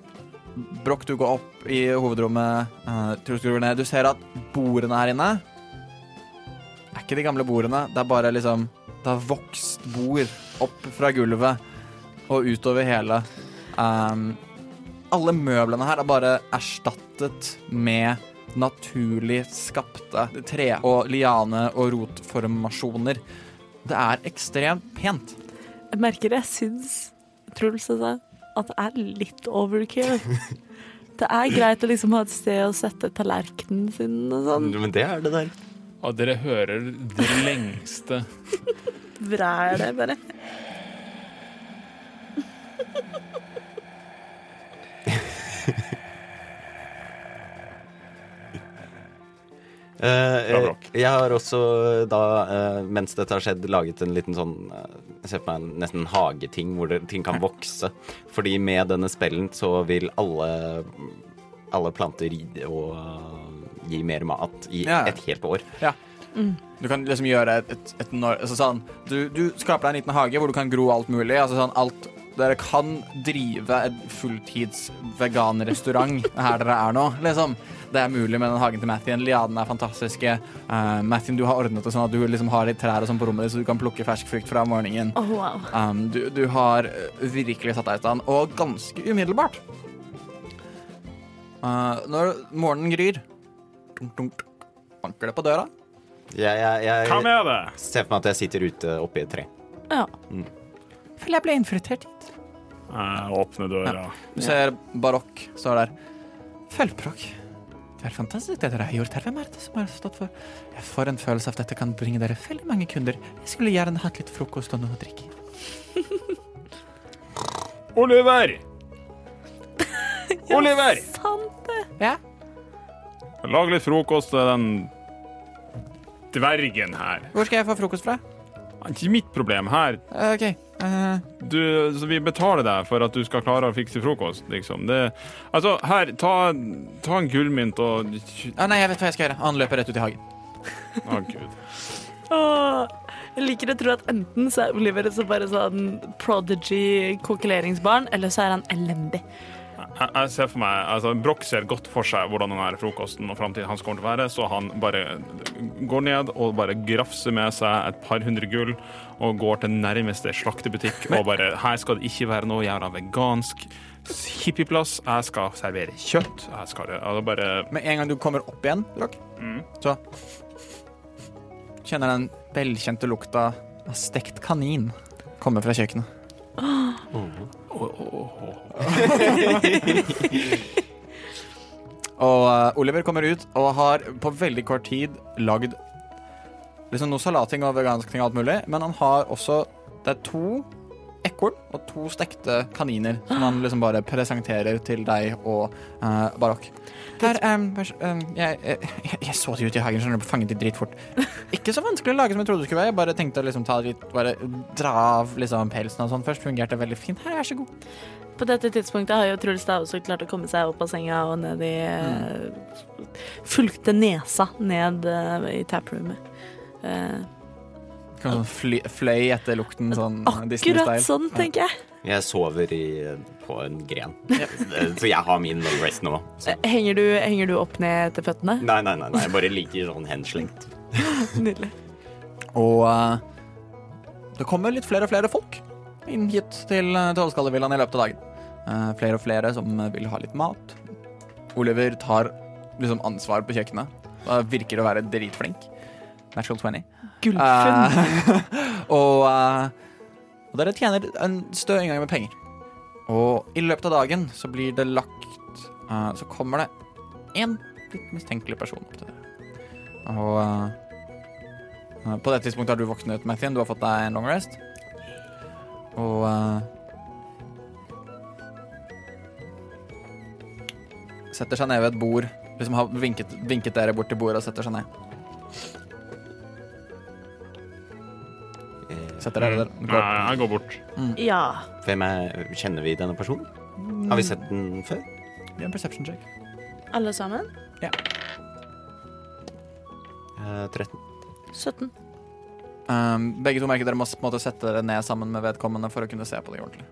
Speaker 4: Brokk, du går opp i hovedrommet. eh, Truls, du går ned. Du ser at bordene her inne er ikke de gamle bordene. Det er bare liksom Det har vokst bord opp fra gulvet og utover hele. Ehm, Um, alle møblene her er bare erstattet med naturlig skapte tre- og liane- og rotformasjoner. Det er ekstremt pent.
Speaker 3: Jeg merker jeg syns Truls altså, at det er litt overkill. Det er greit å liksom ha et sted å sette tallerkenen sin og sånn.
Speaker 5: Men det er det der.
Speaker 2: Og dere hører det lengste
Speaker 3: Vræl det bare.
Speaker 5: Eh,
Speaker 2: Bra
Speaker 5: eh,
Speaker 2: blokk.
Speaker 5: jeg har også eh, da, eh, mens dette har skjedd, laget en liten sånn eh, Jeg ser på meg en- nesten en hageting hvor det, ting kan vokse. Fordi med denne spellen så vil alle, alle planter gi, og, eh, gi mer mat i
Speaker 4: Ja.
Speaker 5: et helt år.
Speaker 4: Du kan liksom gjøre et, et, et nor- altså sånn, du, du skaper deg en liten hage hvor du kan gro alt mulig. Altså sånn, alt, dere kan drive en fulltids-veganrestaurant her dere er nå. Liksom. Det er mulig med den hagen til Mathien. Liadene er fantastiske. Uh, Mathien, du har ordnet det sånn at du liksom har litt trær og sånn på rommet ditt, så du kan plukke fersk frukt fra om morgenen.
Speaker 3: Åh, wow.
Speaker 4: Um, du, du har eh, virkelig satt deg i stand, og ganske umiddelbart. Eh, når morgenen gryr, dunk, dunk, banker det på døra.
Speaker 5: Jeg, jeg,
Speaker 2: Hva
Speaker 5: jeg
Speaker 2: med det?
Speaker 5: ser for meg at jeg sitter ute oppi et tre.
Speaker 3: Ja.
Speaker 4: Føler jeg ble infiltrert hit.
Speaker 2: Jeg åpner døra.
Speaker 4: Du ser barokk står der. Følgebrokk. Det er fantastisk det dere har gjort her. Hvem er det som har stått for? Jeg får en følelse av at dette kan bringe dere veldig mange kunder. Jeg skulle gjerne hatt litt frokost og noe å drikke.
Speaker 2: Oliver! Oliver!
Speaker 3: Sant det.
Speaker 4: Ja,
Speaker 2: Lag litt frokost til den dvergen her.
Speaker 4: hvor skal jeg få frokost fra?
Speaker 2: Det er ikke mitt problem her.
Speaker 4: Eh, Ok. eh,
Speaker 2: du, så vi betaler deg for at du skal klare å fikse frokost, liksom. Det, altså, her, ta, ta en gullmynt og
Speaker 4: ah, nei, jeg vet hva jeg skal gjøre. Han løper rett ut i hagen.
Speaker 2: Å, gud.
Speaker 3: Åh, jeg liker å tro at enten så er Oliver så bare sånn prodigy kokkeleringsbarn, eller så er han elendig.
Speaker 2: Jeg, jeg ser for meg altså, Broch ser godt for seg hvordan denne frokosten og framtiden hans kommer til å være, så han bare går ned og bare grafser med seg et par hundre gull og går til nærmeste slaktebutikk og bare Her skal det ikke være noe jævla vegansk hippieplass. Jeg skal servere kjøtt. Jeg skal altså, bare
Speaker 4: Med en gang du kommer opp igjen, Brokk,
Speaker 2: Mm.
Speaker 4: så kjenner den velkjente lukta av stekt kanin komme fra kjøkkenet. Og eh, Oliver kommer ut og har på veldig kort tid lagd liksom noe salating og vegansk ting og alt mulig, men han har også Det er to ekorn og to stekte kaniner som han liksom bare presenterer til deg og eh, Barok. Her, em, vær så- em, jeg, eh, jeg, jeg så det ut i hagen, skjønner du, fanget det dritfort. Ikke så vanskelig å lage som jeg trodde det skulle være. Jeg bare tenkte å liksom ta litt, bare dra av liksom pelsen og sånn først. Fungerte veldig fint. Her, vær så god.
Speaker 3: På dette tidspunktet har jo Truls da også klart å komme seg opp av senga og ned i eh, Fulgte nesa ned eh, i taproomet. Eh,
Speaker 4: Kan sånn fly, fløy etter lukten sånn Disney-style.
Speaker 3: akkurat sånn, tenker jeg.
Speaker 5: Jeg sover i, på en gren. Eh, Så jeg har min long rest nå. Så.
Speaker 3: Eh, Henger du, henger du opp ned til føttene?
Speaker 5: Nei, nei, nei, nei. Jeg bare ligger sånn henslengt.
Speaker 3: Nydelig.
Speaker 4: Og eh, det kommer litt flere og flere folk inn hit til eh, Trollskallevillaen i løpet av dagen. Eh, flere og flere som eh, vil ha litt mat. Oliver tar liksom ansvar på kjøkkenet. Og virker å være dritflink. Natural 20.
Speaker 3: Gullfunn.
Speaker 4: Eh, og, eh, og dere tjener en stø inngang med penger. Og i løpet av dagen så blir det lagt eh, Så kommer det en litt mistenkelig person opp til dere. Og eh, på det tidspunktet har du våknet, Mathien. Du har fått deg en long rest. Og eh, Setter seg ned ved et bord. Liksom har vinket, vinket dere bort til bordet og setter seg ned. Setter dere der.
Speaker 2: Nei, jeg går bort.
Speaker 3: Ja.
Speaker 5: Eh, Hvem er, kjenner vi denne personen? Har vi sett den før?
Speaker 4: Gjør en perception check.
Speaker 3: Alle sammen?
Speaker 5: Eh, 13.
Speaker 3: 17.
Speaker 7: Ehm,
Speaker 4: Um, begge to merker dere må på en måte sette dere ned sammen med vedkommende for å kunne se på det ordentlig.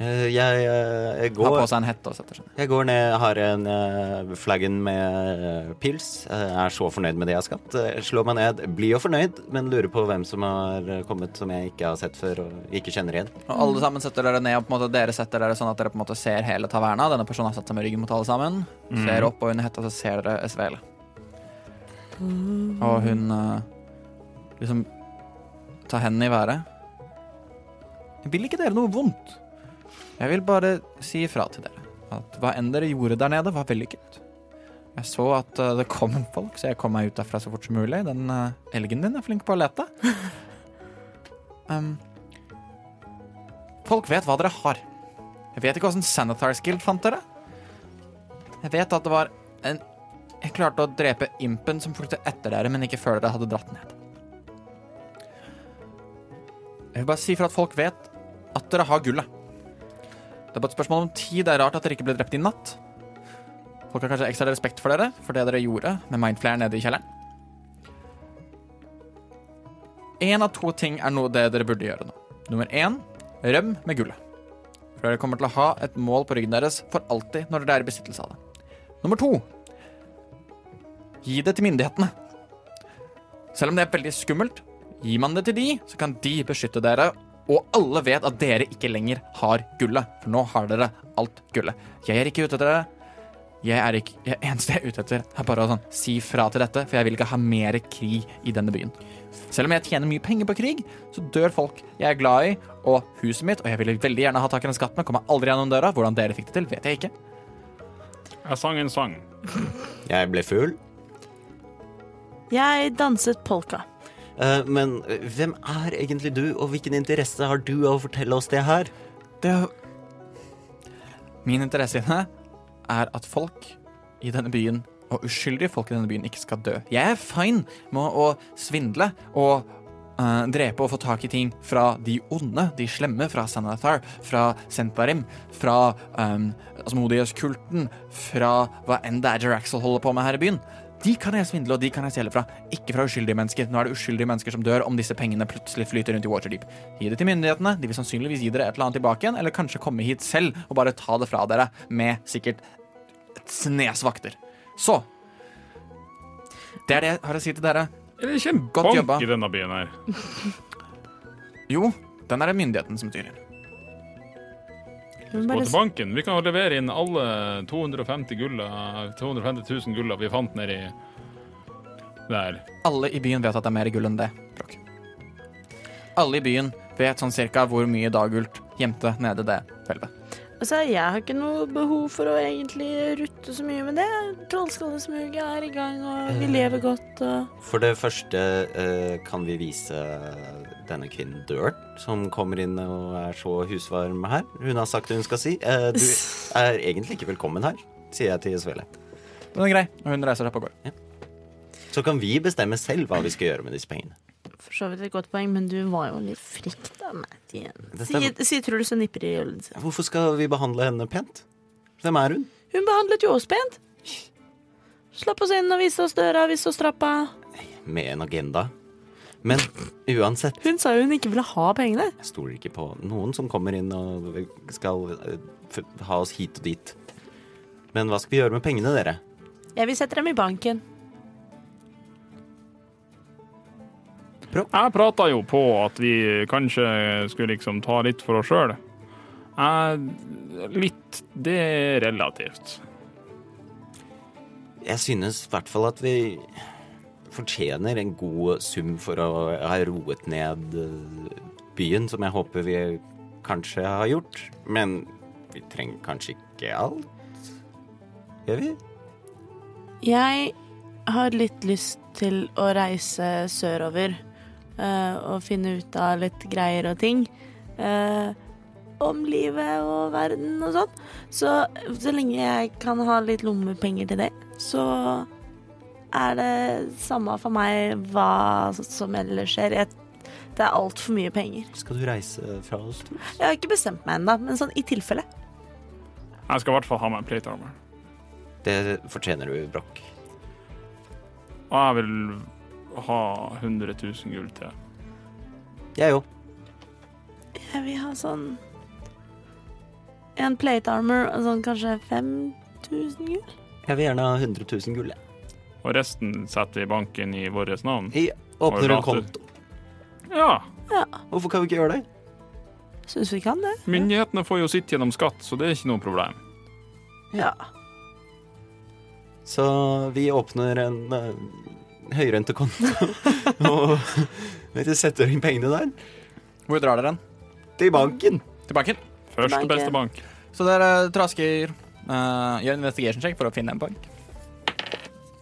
Speaker 5: Eh, Jeg, eh, jeg
Speaker 7: Har
Speaker 5: går
Speaker 7: på seg en hette og setter seg ned.
Speaker 5: Jeg går ned, har en eh, flaggen med eh, pils. Jeg er så fornøyd med det jeg har skapt. Jeg slår meg ned, blir jo fornøyd, men lurer på hvem som har eh, kommet som jeg ikke har sett før og ikke kjenner igjen.
Speaker 7: Og alle sammen setter dere ned, og på en måte dere setter dere sånn at dere på en måte ser hele taverna. Denne personen har satt seg med ryggen mot alle sammen.
Speaker 4: Mm.
Speaker 7: Ser opp og under hetta, så ser dere Svele. Og hun eh, liksom tar hendene i været. Jeg vil ikke dere noe vondt. Jeg vil bare si ifra til dere at hva enn dere gjorde der nede, var vellykket. Jeg så at eh, det kom folk, så jeg kom meg ut derfra så fort som mulig. Den eh, elgen din er flink på å lete. um, Folk vet hva dere har. Jeg vet ikke hvordan Sanitars Guild fant dere. Jeg vet at det var en Jeg klarte å drepe impen som fulgte etter dere, men ikke før dere hadde dratt ned. Jeg vil bare si for at folk vet at dere har gullet. Det er bare et spørsmål om tid. Det er rart at dere ikke ble drept i natt. Folk har kanskje ekstra respekt for dere for det dere gjorde med Mindflayer nede i kjelleren. Én av to ting er noe det dere burde gjøre nå. Nummer én Røm med gullet. For dere kommer til å ha et mål på ryggen deres for alltid når dere er i besittelse av det. Nummer to Gi det til myndighetene. Selv om det er veldig skummelt, gir man det til de, så kan de beskytte dere. Og alle vet at dere ikke lenger har gullet, for nå har dere alt gullet. Jeg er ikke ute etter dere. Jeg er ikke, jeg, eneste jeg er ute etter, er bare å sånn, si fra til dette, for jeg vil ikke ha mer krig i denne byen. Selv om jeg tjener mye penger på krig, så dør folk jeg er glad i, og huset mitt, og jeg ville veldig gjerne ha tak i den skatten, og kommer aldri gjennom døra. Hvordan dere fikk det til, vet jeg ikke.
Speaker 2: Jeg sang en sang.
Speaker 5: Jeg ble full.
Speaker 10: Jeg danset polka.
Speaker 5: Eh, men eh, hvem er egentlig du, og hvilken interesse har du av å fortelle oss det her?
Speaker 7: Det Min interesse i det er at folk i denne byen, og uskyldige folk i denne byen, ikke skal dø. Jeg er fine med å svindle og eh, drepe og få tak i ting fra de onde, de slemme, fra Sanathar, fra Sentarim, fra um, Asmodius-kulten, fra hva enn det er Jeraxel holder på med her i byen. De kan jeg svindle, og de kan jeg stjele fra. Ikke fra uskyldige mennesker. Nå er det uskyldige mennesker som dør om disse pengene plutselig flyter rundt i Waterdeep. Gi det til myndighetene. De vil sannsynligvis gi dere et eller annet tilbake igjen, eller kanskje komme hit selv og bare ta det fra dere med sikkert et snes vakter. Så Det er det jeg har å si til dere.
Speaker 2: Er det ikke en
Speaker 7: Godt
Speaker 2: bank
Speaker 7: jobba.
Speaker 2: i denne byen her?
Speaker 7: Jo, den er det myndigheten som styrer.
Speaker 10: Men
Speaker 2: Gå
Speaker 10: bare
Speaker 2: til banken. Vi kan jo levere inn alle 250 gulla, 250 000 gulla vi fant nedi der.
Speaker 7: Alle i byen vet at det er mer gull enn det. Bråk. Alle i byen vet sånn cirka hvor mye daggult gjemte nede det hvelvet.
Speaker 10: Altså, jeg har ikke noe behov for å egentlig rutte så mye med det. Trollskallesmuget er i gang, og vi lever godt. Og...
Speaker 5: For det første eh, kan vi vise eh, denne kvinnen døren, som kommer inn og er så husvarm her. Hun har sagt det hun skal si. Eh, du er egentlig ikke velkommen her, sier jeg til Svele.
Speaker 7: Den er grei, og hun reiser seg opp og går.
Speaker 5: Så kan vi bestemme selv hva vi skal gjøre med disse pengene.
Speaker 10: For så vidt et godt poeng, men du var jo litt frekk da, Matt, igjen. Si,
Speaker 5: Dette-
Speaker 10: si Truls og nipper i ølen sin.
Speaker 5: Hvorfor skal vi behandle henne pent? Hvem er hun?
Speaker 10: Hun behandlet jo oss pent. Slapp oss inn og viste oss døra, viste oss trappa.
Speaker 5: Med en agenda. Men uansett,
Speaker 10: Hun sa jo hun ikke ville ha pengene.
Speaker 5: jeg stoler ikke på noen som kommer inn og skal eh, f- ha oss hit og dit. Men hva skal vi gjøre med pengene, dere?
Speaker 10: Jeg vil sette dem i banken.
Speaker 2: Jeg prata jo på at vi kanskje skulle liksom ta litt for oss sjøl. Litt Det er relativt.
Speaker 5: Jeg synes i hvert fall at vi fortjener en god sum for å ha roet ned eh, byen, som jeg håper vi kanskje har gjort. Men vi trenger kanskje ikke alt? Gjør vi?
Speaker 3: Jeg har litt lyst til å reise sørover eh, og finne ut av litt greier og ting. eh, om livet og verden og sånn. Så så lenge jeg kan ha litt lommepenger til det, så er det samme for meg hva som ellers skjer. Jeg, det er altfor mye penger.
Speaker 5: Skal du reise fra oss, tror
Speaker 3: Jeg har ikke bestemt meg ennå, men sånn i tilfelle.
Speaker 2: Jeg skal i hvert fall ha meg en plate armor.
Speaker 5: Det fortjener du, Brokk.
Speaker 2: Og jeg vil ha 100 000 gull til.
Speaker 5: Jeg òg.
Speaker 3: Jeg vil ha sånn
Speaker 6: en plate armor og sånn kanskje 5000 gull?
Speaker 5: Jeg vil gjerne ha 100 000 gull. jeg.
Speaker 2: Og resten setter vi i banken i vårt navn.
Speaker 5: Jeg åpner en
Speaker 2: Og rater.
Speaker 5: konto.
Speaker 2: Ja.
Speaker 5: Hvorfor kan vi ikke gjøre det?
Speaker 6: Syns vi kan det.
Speaker 2: Myndighetene får jo sitt gjennom skatt, så det er ikke noe problem.
Speaker 6: Ja.
Speaker 5: Så vi åpner en uh, høyrentekonto og vi setter inn pengene der.
Speaker 4: Hvor drar dere den?
Speaker 5: Til banken.
Speaker 4: Til banken.
Speaker 2: Først
Speaker 6: Banken.
Speaker 2: og beste bank.
Speaker 7: Så dere trasker eh, Gjør en investigation check for å finne en bank.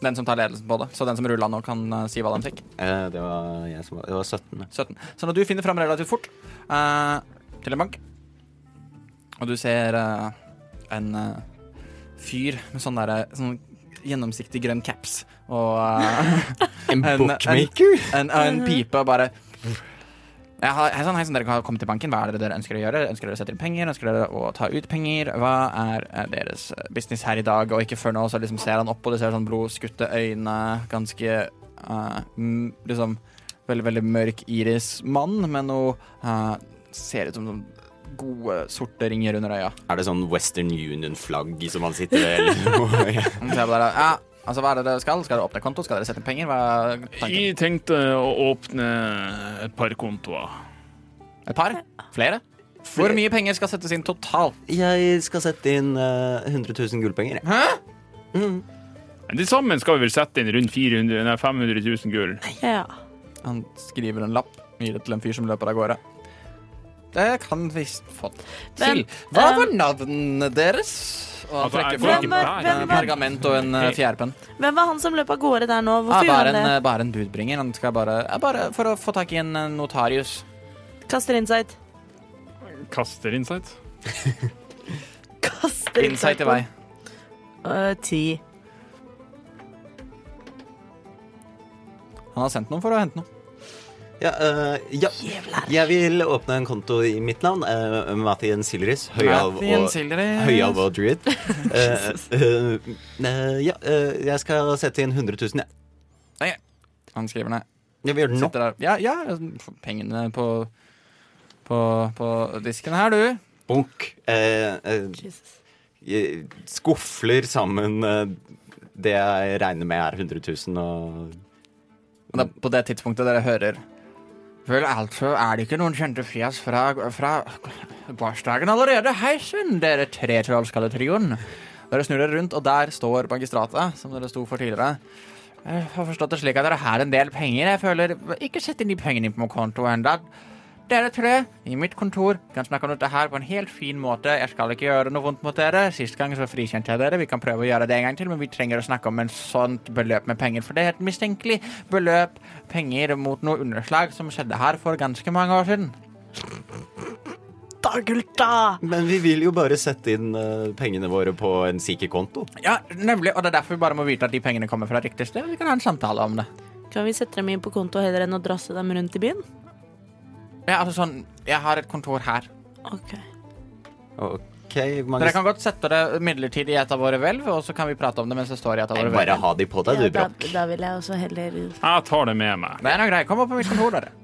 Speaker 7: Den som tar ledelsen på det. Så den som rulla nå, kan eh, si hva de fikk.
Speaker 5: Eh, det var jeg som var, det var 17.
Speaker 7: 17. Så når Sånn du finner fram relativt fort eh, til en bank, og du ser eh, en eh, fyr med sånn derre sånn gjennomsiktig grønn caps og eh,
Speaker 5: En
Speaker 7: En-
Speaker 5: bookmaker?
Speaker 7: en, en pipe og bare jeg har, hei sann, hei sann, dere kan komme til banken. Hva er det dere ønsker å gjøre? Ønsker dere å sette inn penger? Ønsker dere å ta ut penger? Hva er eh, deres eh, business her i dag? Og ikke før nå, så liksom ser han opp, og du ser sånn blodskutte øyne, ganske eh, m- liksom veldig, veldig mørk iris mann med noe eh, ser ut som noen gode, sorte ringer under øya.
Speaker 5: Er det sånn Western Union-flagg som han sitter ved? eller noe? Ja.
Speaker 7: Han ser på dere, ja, altså hva er det dere skal? Skal dere åpne konto? Skal dere sette inn penger? Hva er tanken?
Speaker 8: Jeg tenkte å åpne et par kontoer.
Speaker 7: Et par? Flere? Hvor mye penger skal settes inn totalt?
Speaker 5: Jeg skal sette inn eh, 100 000 gullpenger. jeg.
Speaker 2: Men Til sammen skal vi vel sette inn rundt 400, nei, 500 000 gull.
Speaker 6: ja.
Speaker 7: Han skriver en lapp, gir det til en fyr som løper av gårde. Det kan vi s- få til.
Speaker 6: Men,
Speaker 7: Hva var
Speaker 6: ehm,
Speaker 7: navnet deres? Og han
Speaker 2: Altså, jeg
Speaker 7: trekker
Speaker 2: får
Speaker 7: fram
Speaker 2: ikke
Speaker 6: Hvem var-
Speaker 2: bær.
Speaker 6: hvem
Speaker 7: eh,
Speaker 6: var-
Speaker 7: pergament og en eh, fjærpenn.
Speaker 6: Hvem var han som løp av gårde der nå?
Speaker 7: Ja,
Speaker 6: Hvorfor
Speaker 7: bare,
Speaker 6: gjorde
Speaker 7: en,
Speaker 6: han
Speaker 7: eh, bare en budbringer. Han skal bare, ja, bare for å få tak i en eh, notarius.
Speaker 6: det? Kaster insight.
Speaker 2: Kaster insight.
Speaker 6: Kaster
Speaker 7: Insight i vei.
Speaker 6: Øh, ti.
Speaker 7: Han har sendt noen for å hente noe.
Speaker 5: Ja, eh, ja. Jeg vil åpne en konto i mitt navn. Uh, Mathien Silris. Høyalv og, Høyalv og druid. Eh, eh, eh, ja, eh, jeg skal sette inn 100 000, jeg.
Speaker 7: Han skriver ned.
Speaker 5: Jeg vil gjøre det nå.
Speaker 7: Sitter der. Ja, ja, pengene på, på, på disken her, du.
Speaker 5: Bunk. Eh, eh,
Speaker 6: Jesus.
Speaker 5: jeg skufler sammen eh, det jeg regner med er 100 000, og
Speaker 7: Og det er på det tidspunktet dere hører Vel, altså er det ikke noen kjente fjes fra, fra gårsdagen allerede. Hei sann, dere tre trollskalletrioen. Dere snur dere rundt, og der står magistratet, som dere sto for tidligere. Jeg har forstått det slik at dere har en del penger. Jeg føler Ikke sett inn de pengene på konto enda. Dere tre i mitt kontor kan snakke om dette her på en helt fin måte. Jeg skal ikke gjøre noe vondt mot dere. Sist gang så frikjente jeg dere. Vi kan prøve å gjøre det en gang til, men vi trenger å snakke om en sånt beløp med penger, for det er et mistenkelig beløp penger mot noe underslag som skjedde her for ganske mange år siden.
Speaker 6: Da, gulta!
Speaker 5: Men vi vil jo bare sette inn eh, pengene våre på en sikker konto.
Speaker 7: Ja, nemlig, og det er derfor vi bare må vite at de pengene kommer fra riktig sted. Vi kan ha en samtale om det.
Speaker 6: Kan vi sette dem inn på konto heller enn å drasse dem rundt i byen?
Speaker 7: Ja, altså sånn, Jeg har et kontor her.
Speaker 6: Ok.
Speaker 5: Ok, hvor mange
Speaker 7: Dere kan godt sette det midlertidig i et av våre hvelv, og så kan vi prate om det mens det står i et av
Speaker 5: Nei,
Speaker 7: våre
Speaker 5: Bare
Speaker 7: hvelv.
Speaker 5: ha de på deg,
Speaker 6: Ja,
Speaker 5: du,
Speaker 6: da,
Speaker 5: Brakk.
Speaker 6: da vil jeg også heller
Speaker 2: Jeg tar det med meg.
Speaker 7: Det er noe greit. Kom opp på mitt kontor, dere.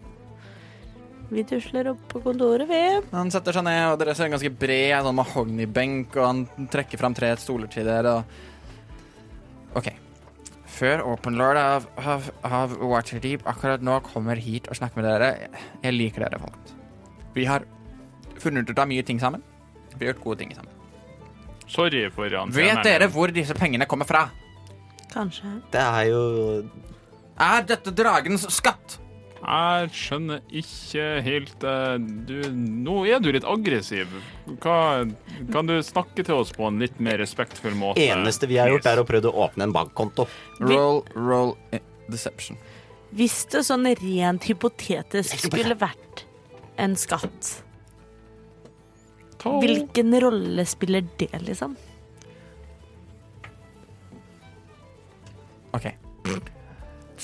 Speaker 6: Vi tusler opp på kontoret, vi.
Speaker 7: Han setter seg ned, og dere ser en ganske bred sånn mahognibenk, og han trekker fram tre stoler til dere. Og... OK. Før Open Lord av, av, av Waterdeep akkurat nå kommer hit og snakker med dere, jeg liker dere, folk. Vi har funnet ut av mye ting sammen. Vi har gjort gode ting sammen.
Speaker 2: Sorry for han.
Speaker 7: Vet dere hvor disse pengene kommer fra?
Speaker 6: Kanskje.
Speaker 5: Det er jo
Speaker 7: Er dette dragens skatt?
Speaker 2: Jeg skjønner ikke helt eh, du, Nå er du litt aggressiv. Hva, kan du snakke til oss på en litt mer respektfull måte?
Speaker 5: eneste vi har gjort, er å prøve å åpne en bankkonto.
Speaker 6: Vi-
Speaker 7: Roll, roll, eh, deception.
Speaker 6: Hvis det sånn rent hypotetisk skulle vært en skatt,
Speaker 2: Ta-
Speaker 7: Oh.
Speaker 6: hvilken rolle spiller det, liksom?
Speaker 7: OK.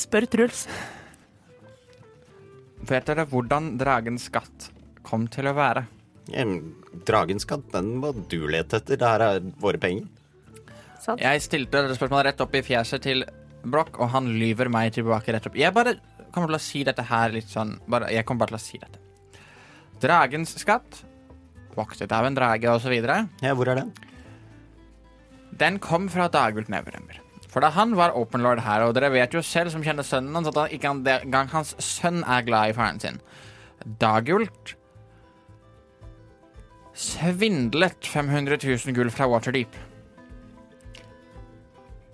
Speaker 6: Spør Truls.
Speaker 7: Vet dere hvordan dragens skatt kom til å være?
Speaker 5: Em, Dragens skatt, den må du lete etter. Det her er våre penger.
Speaker 6: Sant?
Speaker 7: Jeg stilte dette spørsmålet rett opp i fjeset til Broch, og han lyver meg tilbake rett opp. Jeg bare kommer til å si dette her litt sånn bare, Jeg kommer bare til å si dette. Dragens skatt voktet av en drage osv.
Speaker 5: Ja, hvor er den?
Speaker 7: Den kom fra Dagult Neverember. For da han var open lord her, og dere vet jo selv som kjenner sønnen hans, at han ikke engang hans sønn er glad i faren sin. Dagult svindlet 500 000 gull fra Waterdeep.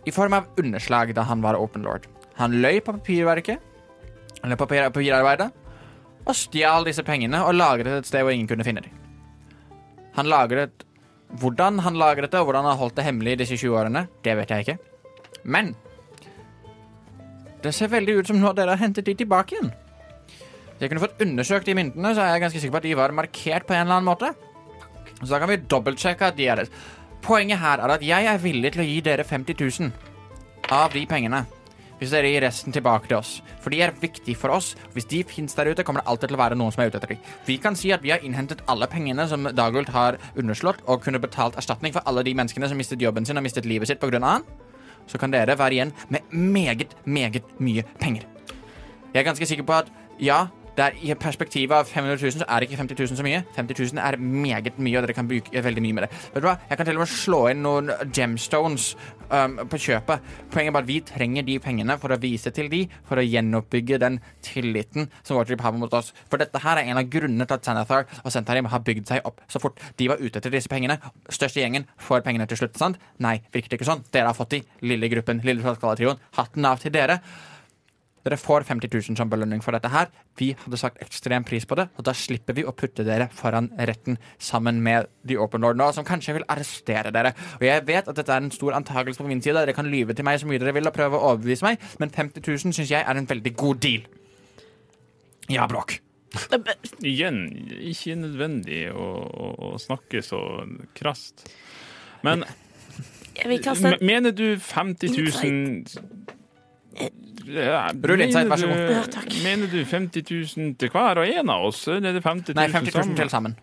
Speaker 7: I form av underslag da han var open lord. Han løy på papirverket, eller papir papirarbeidet, og stjal disse pengene og lagret et sted hvor ingen kunne finne dem. Han lagret hvordan han lagret det, og hvordan han har holdt det hemmelig i disse 20 årene, det vet jeg ikke. Men det ser veldig ut som nå dere har hentet de tilbake igjen. Hvis jeg kunne fått undersøkt de myntene, så er jeg ganske sikker på at de var markert på en eller annen måte. Så da kan vi dobbeltsjekke at de er det. Poenget her er at jeg er villig til å gi dere 50 000 av de pengene. Hvis dere gir resten tilbake til oss. For de er viktige for oss. Hvis de fins der ute, kommer det alltid til å være noen som er ute etter dem. Vi kan si at vi har innhentet alle pengene som Dagult har underslått, og kunne betalt erstatning for alle de menneskene som mistet jobben sin og mistet livet sitt pga. han. Så kan dere være igjen med meget, meget mye penger. Jeg er ganske sikker på at ja, det er i perspektivet av 500 000 så er det ikke 50 000 så mye. 50 000 er meget mye, og dere kan bruke veldig mye med det. Vet du hva? Jeg kan til og med slå inn noen gemstones um, på kjøpet. Poenget er bare at vi trenger de pengene for å vise til de, for å gjenoppbygge den tilliten som Waterdeep har mot oss. For dette her er en av grunnene til at Sanathar og Sentarim har bygd seg opp så fort de var ute etter disse pengene. Største gjengen får pengene til slutt, sant? Nei, virker det ikke sånn? Dere har fått de. Lille gruppen, lille Trollskalatrioen. Hatten av til dere. Dere får 50 000 som belønning for dette her. Vi hadde sagt ekstrem pris på det, og da slipper vi å putte dere foran retten sammen med The Open Lord nå, som kanskje vil arrestere dere. Og jeg vet at dette er en stor antakelse på min side, dere kan lyve til meg så mye dere vil og prøve å overbevise meg, men 50 000 syns jeg er en veldig god deal. Ja, Bråk.
Speaker 2: Igjen, ikke nødvendig å, å, å snakke så krast. Men
Speaker 6: Jeg vil kaste
Speaker 2: me- mener du 50 000 ja,
Speaker 7: Rull insight,
Speaker 2: mener
Speaker 7: vær så god.
Speaker 2: du-
Speaker 6: Eh, Ja, takk.
Speaker 2: Mener du 50 000 til hver og en av oss? Eller er det 50 000,
Speaker 7: Nei, 50 000 til
Speaker 2: sammen?
Speaker 7: sammen.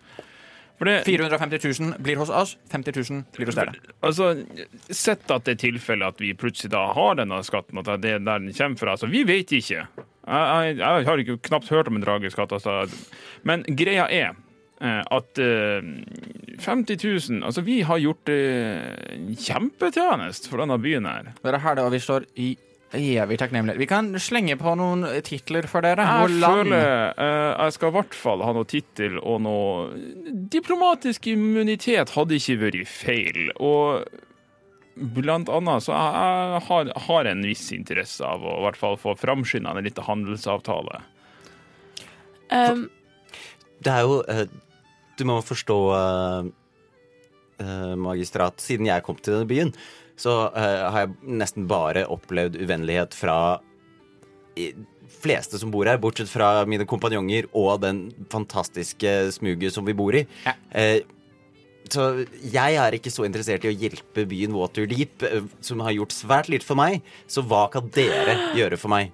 Speaker 2: For det,
Speaker 7: 450 000 blir hos oss, 50 000 blir hos dere.
Speaker 2: Altså, Sett at det er tilfelle at vi plutselig da har denne skatten, at det er der den kommer fra. Altså, vi vet ikke. Jeg, jeg, jeg har ikke knapt hørt om en drageskatt. Altså. Men greia er eh, at eh, 50 000 Altså, vi har gjort eh, en kjempetjeneste for denne byen her.
Speaker 7: Dere har det, og vi står i evig takknemlighet. Vi kan slenge på noen titler for dere.
Speaker 2: Jeg
Speaker 7: Hvor land-
Speaker 2: føler eh, jeg skal i hvert fall ha noe tittel og noe Diplomatisk immunitet hadde ikke vært feil. Og blant annet så jeg, jeg har, har en viss interesse av å i hvert fall få framskynda en liten handelsavtale.
Speaker 6: um,
Speaker 5: Det er jo eh, Du må forstå, eh, eh, magistrat, siden jeg kom til denne byen, så eh, har jeg nesten bare opplevd uvennlighet fra i- fleste som bor her, bortsett fra mine kompanjonger og den fantastiske smuget som vi bor i.
Speaker 7: Ja.
Speaker 5: Eh, så jeg er ikke så interessert i å hjelpe byen Waterdeep, eh, som har gjort svært lite for meg. Så hva kan dere gjøre for meg?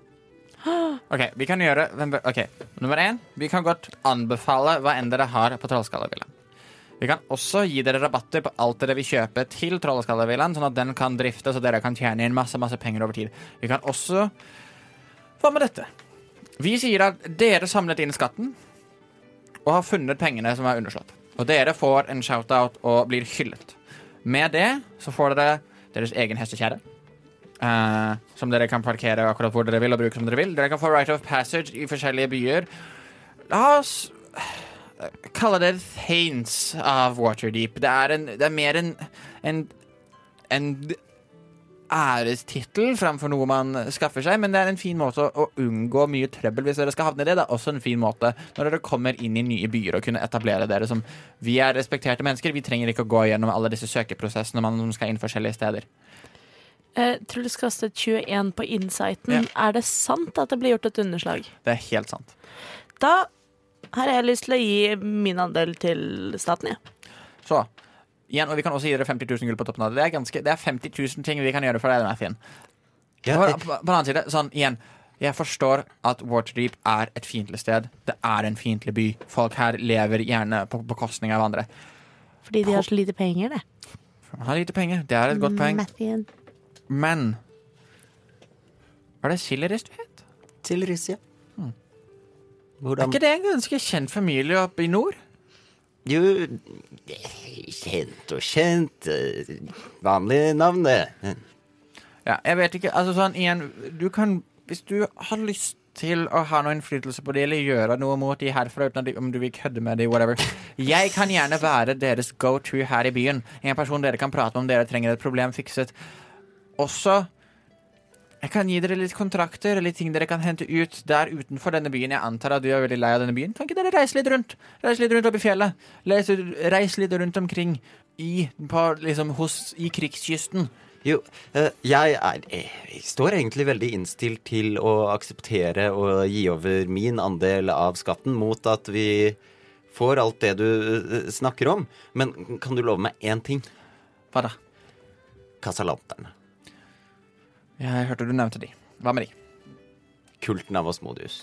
Speaker 7: Ok, vi kan gjøre hvem bør- Ok, nummer én Vi kan godt anbefale hva enn dere har på Trollskallavillaen. Vi kan også gi dere rabatter på alt dere vil kjøpe til Trollskallavillaen, sånn at den kan driftes, og dere kan tjene inn masse, masse penger over tid. Vi kan også Hva med dette? Vi sier at dere samlet inn skatten og har funnet pengene som er underslått. Og dere får en shout-out og blir hyllet. Med det så får dere deres egen hestekjerre. Eh, som dere kan parkere akkurat hvor dere vil og bruke som dere vil. Dere kan få right of passage i forskjellige byer. La oss eh, kalle det Thanes av Waterdeep. Det er, en, det er mer en, en, en ærestittel framfor noe man skaffer seg, men det er en fin måte å unngå mye trøbbel hvis dere skal havne i det. Det er også en fin måte når dere kommer inn i nye byer og kunne etablere dere som Vi er respekterte mennesker, vi trenger ikke å gå gjennom alle disse søkeprosessene man skal inn forskjellige steder.
Speaker 6: eh, Truls kastet 21 på insighten. Er det sant at det blir gjort et underslag?
Speaker 7: Det er helt sant.
Speaker 6: Da har jeg lyst til å gi min andel til staten, jeg.
Speaker 7: Så igjen, og vi kan også gi dere 50 000 gull på toppen av det. Det er, ganske, det er 50 000 ting vi kan gjøre for deg, Mathien.
Speaker 5: Ja,
Speaker 7: På,
Speaker 5: jeg-
Speaker 7: på, på den annen side, sånn igjen. Jeg forstår at Waterdeep er et fiendtlig sted. Det er en fiendtlig by. Folk her lever gjerne på bekostning av andre.
Speaker 6: Fordi de har så lite penger, det.
Speaker 7: Han har lite penger. Det er et godt poeng.
Speaker 6: Mathien.
Speaker 7: Men Var det Sillerist du het?
Speaker 5: til Rissia.
Speaker 7: Er ikke det en ganske kjent familie oppe i nord?
Speaker 5: Jo, kjent og kjent. eh, Vanlig navn, det.
Speaker 7: Ja, jeg vet ikke, altså sånn igjen Du kan, hvis du har lyst til å ha noe innflytelse på det Eller gjøre noe mot de herfra uten at de, om du vil kødde med de, whatever Jeg kan gjerne være deres go-to her i byen En person dere kan prate med om dere trenger et problem fikset Også Jeg kan gi dere litt kontrakter Eller ting dere kan hente ut der utenfor denne byen Jeg antar at du er veldig lei av denne byen Kan ikke dere reise litt rundt? Reise litt rundt opp i fjellet Reise, reise litt rundt omkring i, på, liksom, hos, I krigskysten
Speaker 5: Jo, eh, jeg er Jeg står egentlig veldig innstilt til å akseptere og gi over min andel av skatten mot at vi får alt det du eh, snakker om. Men kan du love meg én ting?
Speaker 7: Hva da?
Speaker 5: Casalanterne.
Speaker 7: Jeg hørte du nevnte de. Hva med de?
Speaker 5: Kulten av Osmodius.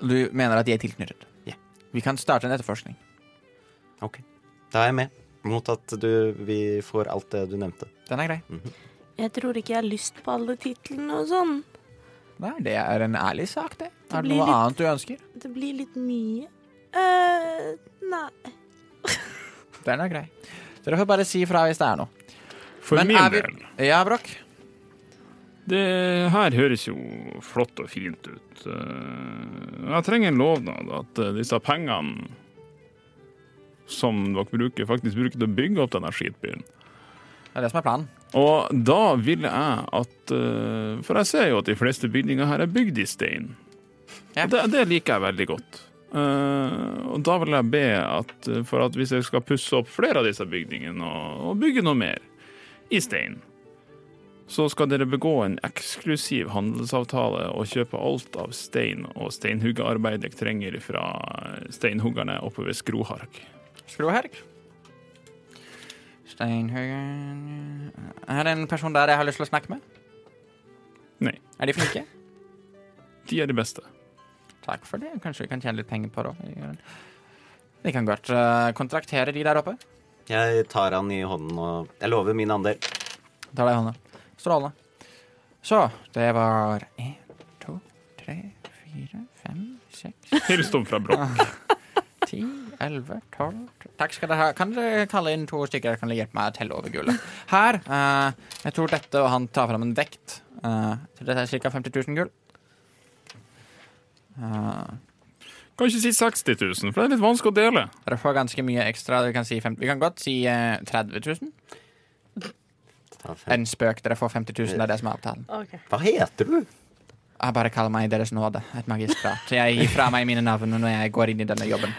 Speaker 7: Du mener at de er tilknyttet?
Speaker 5: Ja.
Speaker 7: Vi kan starte en etterforskning.
Speaker 5: Ok, da er jeg med. Mot at du, vi får alt det du nevnte.
Speaker 7: Den er grei.
Speaker 6: Jeg tror ikke jeg har lyst på alle titlene og sånn.
Speaker 7: Nei, det er en ærlig sak, det.
Speaker 6: Det
Speaker 7: er det
Speaker 6: blir
Speaker 7: noe
Speaker 6: litt-
Speaker 7: annet du ønsker?
Speaker 6: Det blir litt mye. eh nei.
Speaker 7: Den er grei. Dere får bare si fra hvis det er noe.
Speaker 2: For
Speaker 7: Men
Speaker 2: min
Speaker 7: er vi-
Speaker 2: del
Speaker 7: Ja, Brokk?
Speaker 2: Det her høres jo flott og fint ut. Eh, Jeg trenger en lovnad at eh, disse pengene som dere bruker, faktisk bruker til å bygge opp denne skitbyen.
Speaker 7: Det er det som er planen.
Speaker 2: Og da ville jeg at eh, For jeg ser jo at de fleste bygninger her er bygd i stein.
Speaker 7: Ja.
Speaker 2: Og Det, det liker jeg veldig godt. Eh, og da vil jeg be at eh, for at hvis jeg skal pusse opp flere av disse bygningene og, og bygge noe mer i stein, så skal dere begå en eksklusiv handelsavtale og kjøpe alt av stein og steinhuggearbeid dere trenger fra steinhuggerne oppe ved Skrohark.
Speaker 7: Skroherk. Steinhøgen Er det en person der jeg har lyst til å snakke med?
Speaker 2: Nei,
Speaker 7: Er de flinke?
Speaker 2: de er de beste.
Speaker 7: Takk for det. Kanskje vi kan tjene litt penger på det òg. Vi kan godt eh, kontraktere de der oppe.
Speaker 5: Jeg tar han i hånden og Jeg lover min andel.
Speaker 7: Tar deg i hånda. Strålende. Så, det var én, to, tre, fire, fem, seks,
Speaker 2: Hils dem fra Brokk.
Speaker 7: ti, elleve, tolv Takk skal dere ha. Kan dere kalle inn to stykker som kan hjelpe meg å telle over gullet? Her. eh, jeg tror dette og han tar fram en vekt. eh, så dette er ca. 50 000 gull. Eh,
Speaker 2: Kan ikke si 60 000, for det er litt vanskelig å dele.
Speaker 7: dere får ganske mye ekstra. Vi kan, si fem, vi kan godt si eh, 30 000.
Speaker 5: Ta fem.
Speaker 7: En spøk. Dere får 50 000. Det er det som er avtalen.
Speaker 3: Ok.
Speaker 5: Hva heter du?
Speaker 7: Jeg bare kaller meg Deres nåde. Et magistrat. Jeg gir fra meg mine navn når jeg går inn i denne jobben.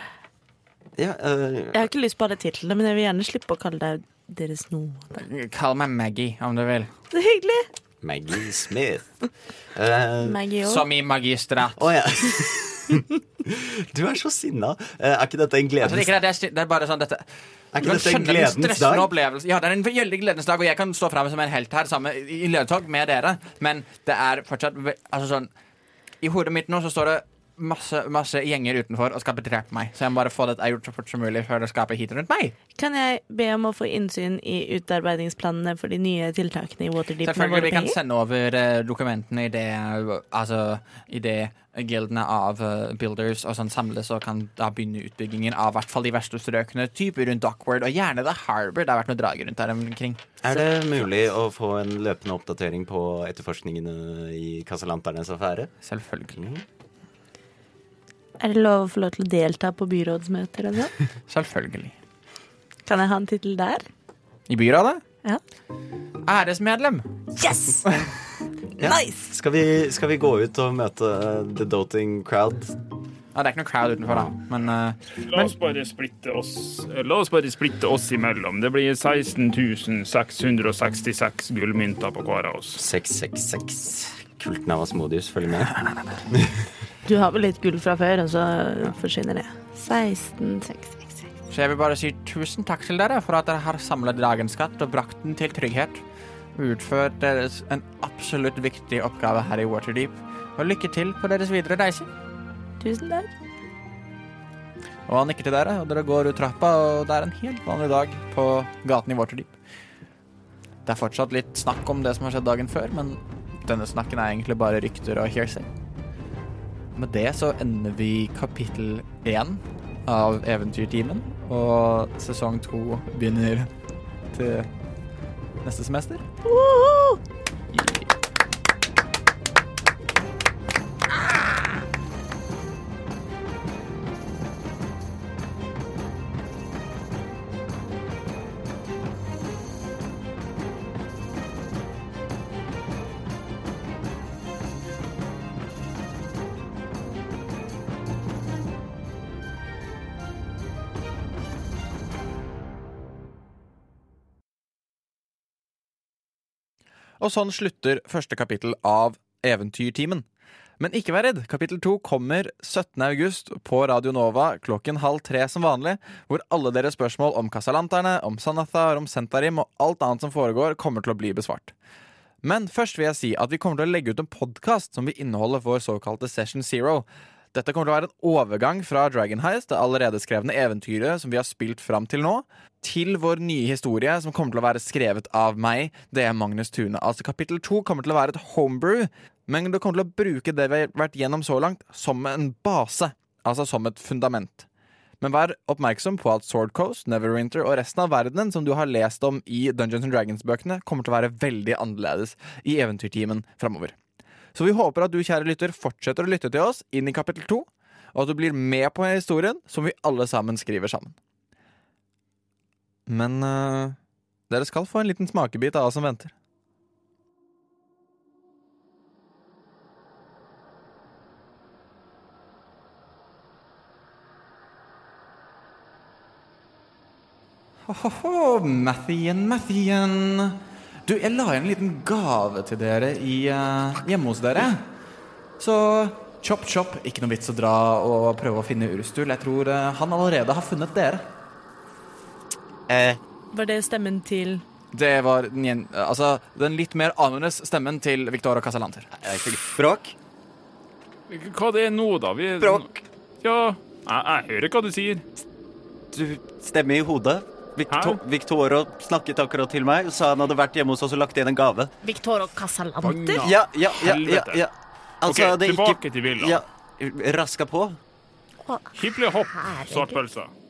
Speaker 5: Ja, eh,
Speaker 6: Jeg har ikke lyst på alle titlene, men jeg vil gjerne slippe å kalle deg Deres noe.
Speaker 7: Kall meg Maggie, om du vil.
Speaker 6: Så hyggelig!
Speaker 5: Maggie Smith. Eh,
Speaker 6: Maggie òg.
Speaker 7: Som i magistrat.
Speaker 5: Å ja. Du er så sinna. Eh, er ikke dette en
Speaker 7: Altså,
Speaker 5: gledens,
Speaker 7: det, er ikke det, det, er, sti- det er bare sånn dette
Speaker 5: er ikke
Speaker 7: Du
Speaker 5: dette
Speaker 7: kan
Speaker 5: en
Speaker 7: skjønne den
Speaker 5: gledens
Speaker 7: stressende
Speaker 5: dag?
Speaker 7: opplevelsen. Ja, det er en veldig gledens dag, og jeg kan stå frem som en helt her sammen i i ledetog med dere, men det er fortsatt ve- Altså sånn I hodet mitt nå så står det masse, masse gjenger utenfor og skal bedrepe meg, så jeg må bare få dette gjort så fort som mulig før det skaper heat rundt meg.
Speaker 6: Kan jeg be om å få innsyn i utarbeidingsplanene for de nye tiltakene i Waterdeep? med
Speaker 7: Selvfølgelig,
Speaker 6: våre
Speaker 7: vi kan
Speaker 6: penger?
Speaker 7: sende over eh, dokumentene i det eh, Altså, i det gildene av eh, builders og sånn samles og kan da begynne utbyggingen av i hvert fall de verste strøkene, type rundt Dockward og gjerne The Harbour. Det har vært noe drager rundt der omkring.
Speaker 5: Er det mulig å få en løpende oppdatering på etterforskningene i Casalanternes affære?
Speaker 7: Selvfølgelig.
Speaker 5: Mm.
Speaker 6: Er det lov å få lov til å delta på byrådsmøter og sånn?
Speaker 7: Selvfølgelig.
Speaker 6: Kan jeg ha en tittel der?
Speaker 7: I byrådet?
Speaker 6: Ja.
Speaker 7: Æresmedlem.
Speaker 6: Yes! Nice!
Speaker 5: Skal vi, skal vi gå ut og møte eh, the doting crowd?
Speaker 7: Ja, det er ikke noe crowd utenfor, da, men eh,
Speaker 2: La oss bare splitte oss La oss bare splitte oss imellom. Det blir 16 666 gullmynter på hver av oss.
Speaker 5: 666. Kulten av Asmodius følger med.
Speaker 6: Du har vel litt gull fra før, og så forsvinner det. 16, 6, 6, 6.
Speaker 7: Så jeg vil bare si tusen takk til dere for at dere har samlet dagens skatt og brakt den til trygghet. Utført deres en absolutt viktig oppgave her i Waterdeep. Og lykke til på deres videre reise.
Speaker 6: Tusen takk.
Speaker 7: Og han nikker til dere, og dere går ut trappa, og det er en helt vanlig dag på gaten i Waterdeep. Det er fortsatt litt snakk om det som har skjedd dagen før, men denne snakken er egentlig bare rykter og hearsay. Med det så ender vi kapittel én av Eventyrtimen, og sesong to begynner til neste semester.
Speaker 4: Og sånn slutter første kapittel av Eventyrtimen. Men ikke vær redd, kapittel to kommer 17. august på Radio Nova klokken halv tre som vanlig, hvor alle deres spørsmål om Casalanterne, om Sanathar, om Sentarim og alt annet som foregår, kommer til å bli besvart. Men først vil jeg si at vi kommer til å legge ut en podkast som vil inneholde vår såkalte Session Zero. Dette kommer til å være en overgang fra Dragon Heist, det allerede skrevne eventyret som vi har spilt fram til nå, til vår nye historie, som kommer til å være skrevet av meg. Det er Magnus Tune. Altså Kapittel to kommer til å være et homebrew, men du kommer til å bruke det vi har vært gjennom så langt, som en base. Altså som et fundament. Men vær oppmerksom på at Sword Coast, Neverwinter og resten av verdenen som du har lest om i Dungeons Dragons-bøkene, kommer til å være veldig annerledes i eventyrtimen framover. Så vi håper at du, kjære lytter, fortsetter å lytte til oss inn i kapittel to, og at du blir med på historien som vi alle sammen skriver sammen. Men eh, dere skal få en liten smakebit av hva som venter. Ho-ho-ho, Mathien, Mathien. Du, jeg la inn en liten gave til dere i, eh, hjemme hos dere. Så chop, chop. Ikke noe vits å dra og prøve å finne Urstul. Jeg tror eh, han allerede har funnet dere.
Speaker 5: Eh,
Speaker 6: Var det stemmen til
Speaker 4: Det var den, gjen- altså, den litt mer annerledes stemmen til Victoria Casalanter.
Speaker 5: jeg fikk bråk.
Speaker 8: Hva det er nå, da? Vi,
Speaker 5: Bråk.
Speaker 8: Ja, jeg, jeg hører hva du sier.
Speaker 5: Du stemmer i hodet. Victor,
Speaker 8: Hæ?
Speaker 5: Victoro snakket akkurat til meg og sa han hadde vært hjemme hos oss og lagt igjen en gave.
Speaker 3: Victoro Casalanter?
Speaker 5: Ja, ja, ja, ja,
Speaker 8: Helvete.
Speaker 5: ja. Altså,
Speaker 8: Ok,
Speaker 5: det
Speaker 8: tilbake
Speaker 5: gikk
Speaker 8: til Villa.
Speaker 5: Ja, raska på.
Speaker 8: Hippelig hopp,
Speaker 3: Herregud.
Speaker 8: svartpølser.